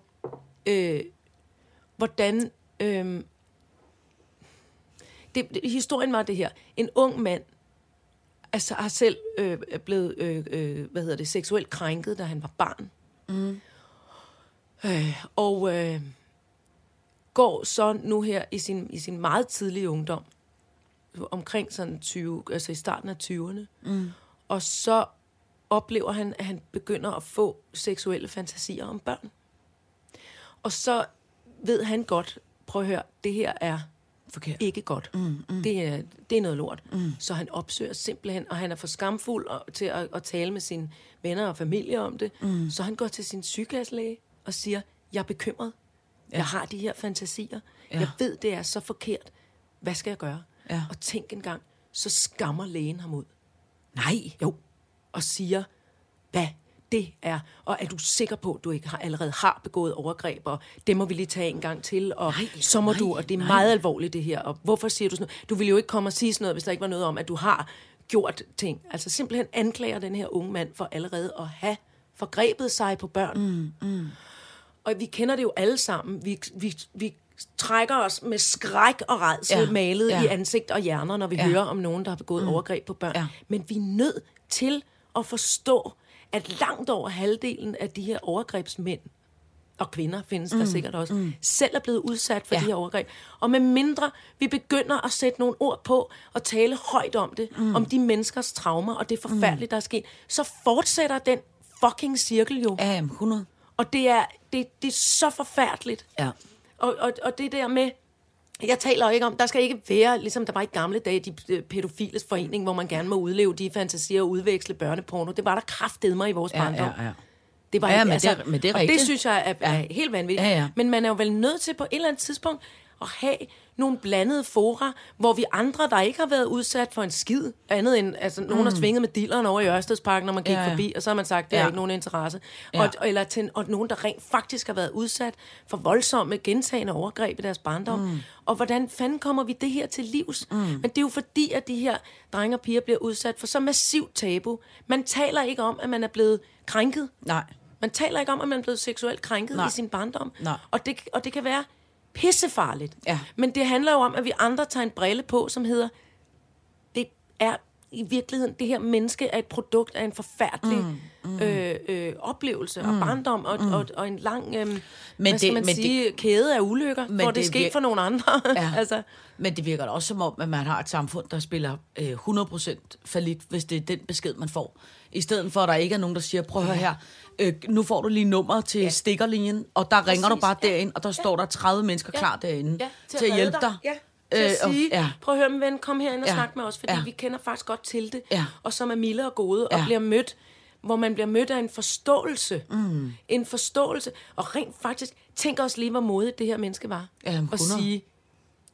øh, hvordan... Øh, det, det, historien var det her. En ung mand altså, har selv øh, er blevet øh, øh, hvad hedder det, seksuelt krænket, da han var barn. Mm. Øh, og øh, går så nu her i sin, i sin meget tidlige ungdom, omkring sådan 20, altså i starten af 20'erne, mm. og så oplever han, at han begynder at få seksuelle fantasier om børn. Og så ved han godt, prøv at høre, det her er
Forkert.
ikke godt. Mm, mm. Det, er, det er noget lort. Mm. Så han opsøger simpelthen, og han er for skamfuld og, til at, at tale med sine venner og familie om det. Mm. Så han går til sin syggaslæge og siger, jeg er bekymret. Ja. Jeg har de her fantasier.
Ja.
Ja. Jeg ved, det er så forkert. Hvad skal jeg gøre?
Ja.
Og tænk engang, så skammer lægen ham ud
Nej.
jo, og siger, hvad det er, og er du sikker på, at du ikke har, allerede har begået overgreb, og det må vi lige tage en gang til, og
Nej,
nej, så må
nej,
nej, du, og det er
nej.
nej. meget alvorligt det her, og hvorfor siger du sådan noget? Du ville jo ikke komme og sige sådan noget, hvis der ikke var noget om, at du har gjort ting. Altså simpelthen anklager den her unge mand for allerede at have forgrebet sig på børn. Mm. Og vi kender det jo alle sammen. Vi, vi, vi trækker os med skræk og redsel
Ja,
ja, malet
ja.
ja. i ansigt og hjerner, når vi
Ja.
ja. hører om nogen, der har begået mm. overgreb på børn.
Ja.
Ja. Men vi er nødt til at forstå, at langt over halvdelen af de her overgrebsmænd og kvinder findes mm, der sikkert også, mm. selv er blevet udsat for
Ja.
ja. de her overgreb. Og med mindre vi begynder at sætte nogle ord på og tale højt om det, mm. om de menneskers traumer og det forfærdelige, der er sket, så fortsætter den fucking cirkel jo.
Ja, jamen, 100.
Og det er, det, det er så forfærdeligt.
Ja.
Og, og, og det der med, jeg taler jo ikke om, der skal ikke være, ligesom der var i gamle dage, de øh, pædofiles forening, hvor man gerne må udleve de fantasier og udveksle børneporno. Det var der kraftedme i vores
Ja,
barndom.
ja, ja.
Det var
Ja,
ikke,
men det
altså,
er- men det er
og
rigtigt.
det synes jeg er, er helt vanvittigt.
Ja, ja.
Men man er jo vel nødt til på et eller andet tidspunkt at have nogle blandede fora, hvor vi andre, der ikke har været udsat for en skid, andet end, altså, nogen har svinget med dilleren over i Ørstedsparken, når man gik
Mm. Ja,
ja,
ja.
ja. forbi, og så har man sagt, det er
Ja.
ikke nogen interesse.
Ja.
Ja. Og, eller til, en- og nogen, der rent faktisk har været udsat for voldsomme, gentagende overgreb i deres barndom. Mm. Og hvordan fanden kommer vi det her til livs? Mm. Men det er jo fordi, at de her drenge og piger bliver udsat for så massivt tabu. Man taler ikke om, at man er blevet krænket.
Nej.
Man taler ikke om, at man er blevet seksuelt krænket
Nej.
Nej. i sin barndom.
Nej.
Og, det, og det kan være pissefarligt.
Ja.
Men det handler jo om, at vi andre tager en brille på, som hedder, det er i virkeligheden, det her menneske er et produkt af en forfærdelig mm, mm. Øh, øh, oplevelse og barndom og, mm. og, og en lang øh, men hvad
det-
skal man
men det-
sige, kæde af ulykker,
Men
hvor det,
det
det
er
skete
vir-
for nogle andre.
Ja.
altså,
Men det virker da også som om, at man har et samfund, der spiller øh, 100% falit, hvis det er den besked, man får. I stedet for, at der ikke er nogen, der siger, prøv at høre her, øh, nu får du lige nummer til ja. stikkerlinjen, og der Præcis. ringer du bare
Ja.
derind, og der står der 30 mennesker klar derinde
ja,
til, at
redde
hjælpe dig. Øh,
Ja, til at
og-
sige,
ja.
prøv at høre, min ven, kom herind og
Ja.
ja. snak med os, fordi
Ja.
ja. vi kender faktisk godt til det,
Ja.
og som er milde og gode, og
Ja.
ja. bliver mødt, hvor man bliver mødt af en forståelse. Mm. En forståelse, og rent faktisk, tænk også lige, hvor modigt det her menneske var.
Ja, jamen,
at
100.
sige,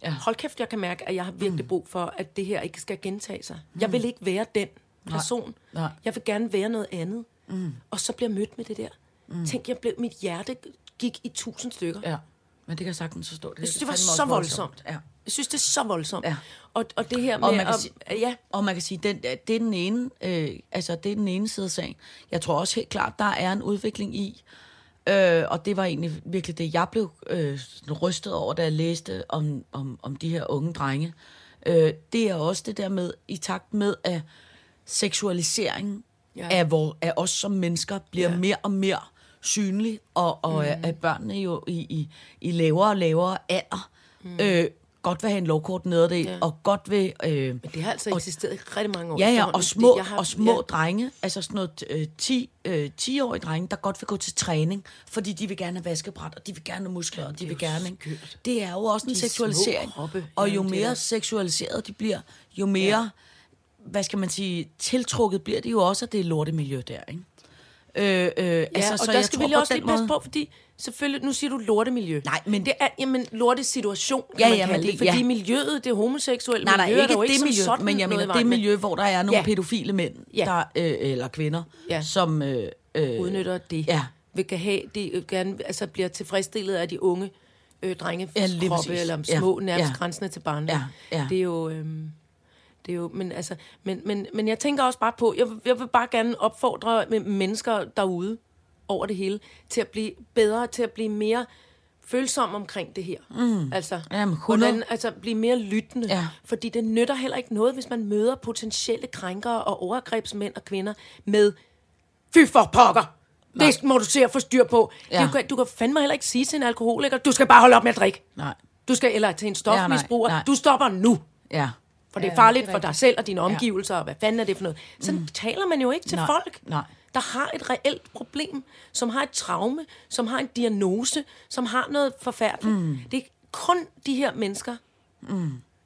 Ja. Mm.
ja. hold kæft, jeg kan mærke, at jeg har virkelig brug for, at det her ikke skal gentage sig. Jeg vil ikke være den person.
Nej.
Jeg vil gerne være noget andet. Mm. Og så bliver jeg mødt med det der. Mm. Tænk, jeg blev, mit hjerte gik i tusind stykker.
ja, men det kan jeg sagtens forstå. Det,
Jeg synes, det var
fandme også
så voldsomt.
Ja.
Jeg synes, det er så voldsomt.
Ja.
Og, og det her med...
Og man kan
at-
sige-
ja,
Og man kan sige, den, det er den ene, øh, altså det er den ene side af sagen. Jeg tror også helt klart, der er en udvikling i, øh, og det var egentlig virkelig det, jeg blev øh, sådan rystet over, da jeg læste om, om, om de her unge drenge. Øh, det er også det der med, i takt med, at seksualiseringen ja.
Ja.
af, vor, af os som mennesker bliver ja.
Ja.
mere og mere synlig, og, og mm. at børnene jo i, i, i lavere og lavere alder mm. øh, godt vil have en lovkort nederdel, ja.
Ja.
og godt vil... Øh,
men det har altså eksisteret i rigtig mange år.
Ja, ja,
efterhånden,
og
fordi
små,
jeg har-
og små ja.
ja.
drenge, altså sådan noget øh, 10, øh, 10-årige drenge, der godt vil gå til træning, fordi de vil gerne have vaskebræt, og de vil gerne have muskler, og de vil
jo
gerne... ikke?
skørt.
Det er jo også en
De små
seksualisering,
kroppe,
og
ja,
jo
det er
mere
der.
seksualiseret de bliver, jo mere, ja. hvad skal man sige, tiltrukket bliver de jo også af det lortemiljø der, ikke? Øh, øh, ja,
Ja,
altså,
og
så
så der
jeg
skal
tror
vi lige
på
også
den
lige passe
måde-
på, fordi selvfølgelig, nu siger du lortemiljø.
Nej, men-
Det er, jamen, lortesituation, kan
Ja,
man
ja,
kalde
men
det,
det-
fordi
ja.
miljøet, det homoseksuelle
Nej, nej,
miljø, er
ikke,
der jo
det
ikke som
miljø,
sådan
men jeg
noget i
mener det
vejen med.
miljø, hvor der er nogle ja.
Ja.
pædofile mænd, ja.
Ja.
der, øh, eller kvinder, ja.
Ja.
som... Øh, øh,
udnytter det.
Ja.
Vil kan have, de gerne altså, bliver tilfredsstillet af de unge øh, drenge
Ja,
ja,
lige præcis.
kroppe, eller
Ja,
små, ja, nærmest
ja.
ja. grænsende til barnet.
Ja, ja.
Det er jo... Øhm, det er jo, men, altså, men, men, men jeg tænker også bare på, jeg, vil- jeg vil bare gerne opfordre men- mennesker derude over det hele, til at blive bedre, til at blive mere følsomme omkring det her. Mm. Altså,
Jamen, 100.
hvordan, altså blive mere lyttende.
Ja.
Fordi det nytter heller ikke noget, hvis man møder potentielle krænkere og overgrebsmænd og kvinder med Fy for pokker! Nej. Det må du se at få styr på.
Ja.
Ja. Du, kan, du kan fandme heller ikke sige til en alkoholiker, du skal bare holde op med at drikke.
Nej.
Du skal, eller til en
Ja,
stofmisbruger,
nej,
ja,
nej.
du stopper nu.
Ja.
For det er farligt for dig selv og dine omgivelser, og hvad fanden er det for noget? Sådan mm. taler man jo ikke til
Nej,
folk,
nej.
der har et reelt problem, som har et traume, som har en diagnose, som har noget forfærdeligt. Mm. Det er kun de her mennesker, mm.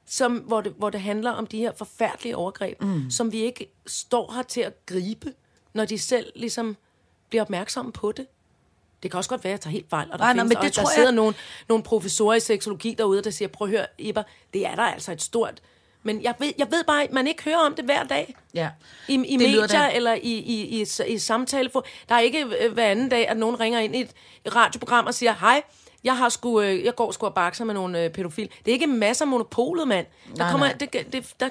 som, hvor, det, hvor det handler om de her forfærdelige overgreb, mm. som vi ikke står her til at gribe, når de selv ligesom bliver opmærksomme på det. Det kan også godt være, at jeg tager helt fejl, og der,
Nej, nej,
nej, findes,
men
nej,
det
og der
tror jeg-
sidder nogle, nogle professorer i seksologi derude, der siger, prøv at høre, Eber, det er der altså et stort... Men jeg ved, jeg ved bare, at man ikke hører om det hver dag.
Ja.
I, i
Det lyder
medier
da-
eller i, i, i, i samtale. For, der er ikke øh, hver anden dag, at nogen ringer ind i et radioprogram og siger, hej, jeg, har sku, øh, jeg går sgu og bakser med nogle øh, pædofil. Det er ikke masser af monopolet, mand. Der
Nej,
kommer,
nej.
Det, det, der,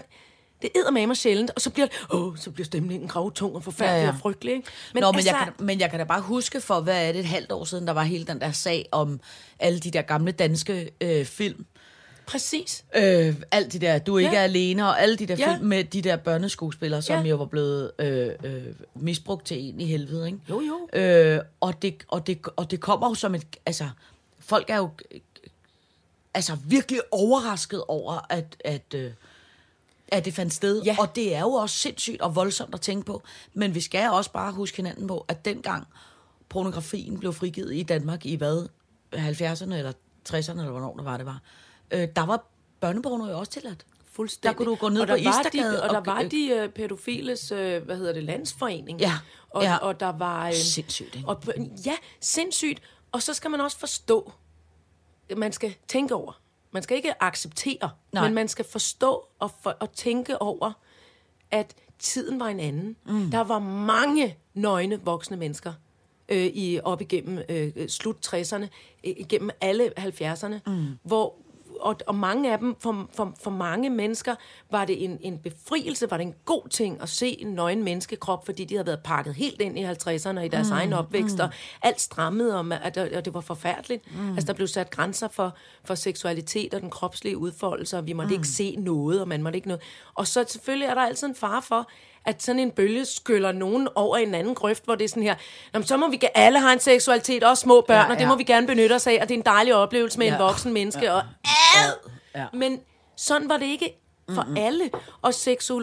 det æder med mig sjældent, og så bliver, åh, så bliver stemningen gravtung og forfærdelig
Ja,
ja,
ja.
ja. og frygtelig. Ikke?
Men, Nå, men, altså, jeg kan, men jeg kan da bare huske for, hvad er det, et halvt år siden, der var hele den der sag om alle de der gamle danske øh, film.
præcis.
Øh, alt de der, du er ikke
Ja.
er alene, og alle de der
Ja.
film med de der børneskuespillere, som
Ja.
jo var blevet øh, øh, misbrugt til en i helvede, ikke?
Jo, jo.
Øh, og, det, og, det, og det kommer jo som et, altså, folk er jo øh, altså virkelig overrasket over, at, at, øh, at det fandt sted.
Ja.
Og det er jo også sindssygt og voldsomt at tænke på. Men vi skal også bare huske hinanden på, at dengang pornografien blev frigivet i Danmark i hvad? 70'erne eller 60'erne, eller hvornår det var, det var. Øh, der var børneporno jo også tilladt.
Fuldstændig.
Der kunne du gå ned
og
på
der var
Istedgade
de, Og der
og-
var de øh, pædofiles, øh, hvad hedder det, landsforening.
Ja,
Og,
ja.
og der var... Øh,
Sindssygt, ikke?
Og, på- ja, sindssygt. Og så skal man også forstå, man skal tænke over, man skal ikke acceptere,
Nej.
Nej. men man skal forstå og, for, og tænke over, at tiden var en anden. Mm. Der var mange nøgne voksne mennesker øh, i op igennem øh, slut 60'erne, øh, igennem alle 70'erne, mm. hvor og, og mange af dem, for, for, for mange mennesker, var det en, en befrielse, var det en god ting at se en nøgen menneskekrop, fordi de havde været pakket helt ind i 50'erne og i deres mm, egen opvækst, mm. og alt strammede, og, ma- og, det- og det var forfærdeligt. Mm. Altså, der blev sat grænser for, for seksualitet og den kropslige udfoldelse, og vi måtte mm. ikke se noget, og man måtte ikke noget. Og så selvfølgelig er der altid en fare for, at sådan en bølge skyller nogen over i en anden grøft, hvor det er sådan her, "Nå, men så må vi ge- alle have en seksualitet, også små børn, ja,
Ja,
ja. og
ja.
det må vi gerne benytte os af, og det er en dejlig oplevelse med ja.
Ja.
en voksen menneske, ja. og
Ja.
men sådan var det ikke for mm-hmm. alle. Og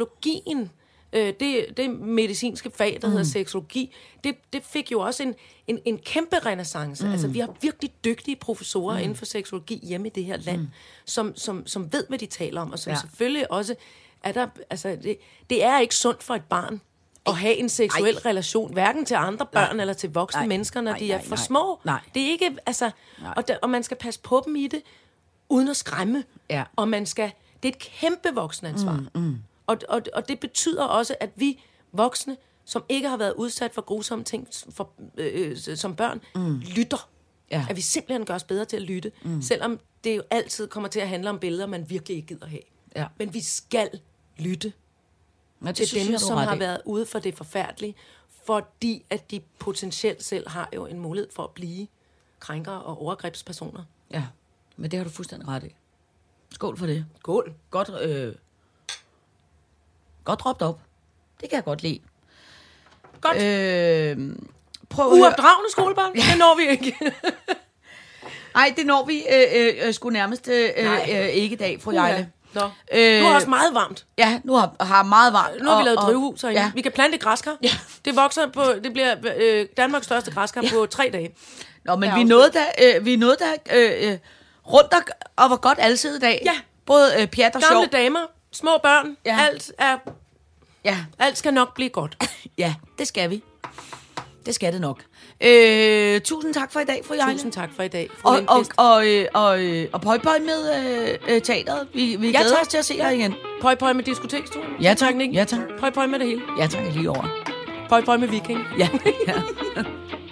seksologien, øh, det, det medicinske fag, der mm. hedder seksologi, det, det fik jo også en, en, en kæmpe renaissance. Mm. Altså, vi har virkelig dygtige professorer mm. inden for seksologi hjemme i det her land, mm. som, som, som ved, hvad de taler om, og som
Ja.
ja. selvfølgelig også er der... Altså, det, det er ikke sundt for et barn at have en seksuel
Ej.
relation, hverken til andre børn eller til voksne
Nej.
mennesker, når
Nej,
de er
nej,
for
nej.
små.
Nej.
Det er ikke, altså, og, der, og man skal passe på dem i det, uden at skræmme.
Ja.
Og man skal, det er et kæmpe voksenansvar. Mm, mm. Og, og, og det betyder også, at vi voksne, som ikke har været udsat for grusomme ting for, øh, øh, som børn, mm. lytter.
Ja.
At vi simpelthen gør os bedre til at lytte, mm. selvom det jo altid kommer til at handle om billeder, man virkelig ikke gider have.
Ja.
Men vi skal lytte
Men det
til
synes
dem,
jeg, du
som
ret
har
i.
været ude for det forfærdelige, fordi at de potentielt selv har jo en mulighed for at blive krænkere og overgrebspersoner.
Ja, men det har du fuldstændig ret i. Skål for det.
Skål.
Godt, øh, godt råbt op. Det kan jeg godt lide.
Godt.
Øh, prøv at høre.
Uopdragende skolebørn, det når vi ikke.
Nej, det når vi øh, øh, øh, sgu nærmest øh, øh,
Nej.
øh, ikke i dag, fru Jejle.
Nå.
Øh,
Nu er det også meget varmt.
Ja, nu har, har meget varmt.
Nu har vi
og-
lavet
og-
drivhus herinde.
Ja.
Vi kan plante græskar.
Ja.
Det vokser på, det bliver øh, Danmarks største græskar ja. på tre dage.
Nå, men
Ja,
vi
okay.
nåede da, øh, vi nåede da øh, øh, rundt og, og var godt altid i dag.
Ja.
Både øh, pjat og sjov.
Gamle damer, små børn,
Ja.
ja. alt, er,
Ja,
alt skal nok blive godt.
ja, det skal vi. Det skal det nok. Øh, tusind tak for i dag, fru Jejle.
Tusind tak for i dag. fru
Og, og,
Lindqvist.
og, øh, og, øh, og pøj, pøj med øh, øh, teateret. Vi, vi
Ja,
glæder
tak.
os til at se jer igen.
Pøj, pøj med diskoteksturen.
Ja, tak.
Teknik.
Ja, tak.
Pøj, pøj med det hele.
Ja, tak lige over.
Pøj, pøj med viking.
Ja, ja.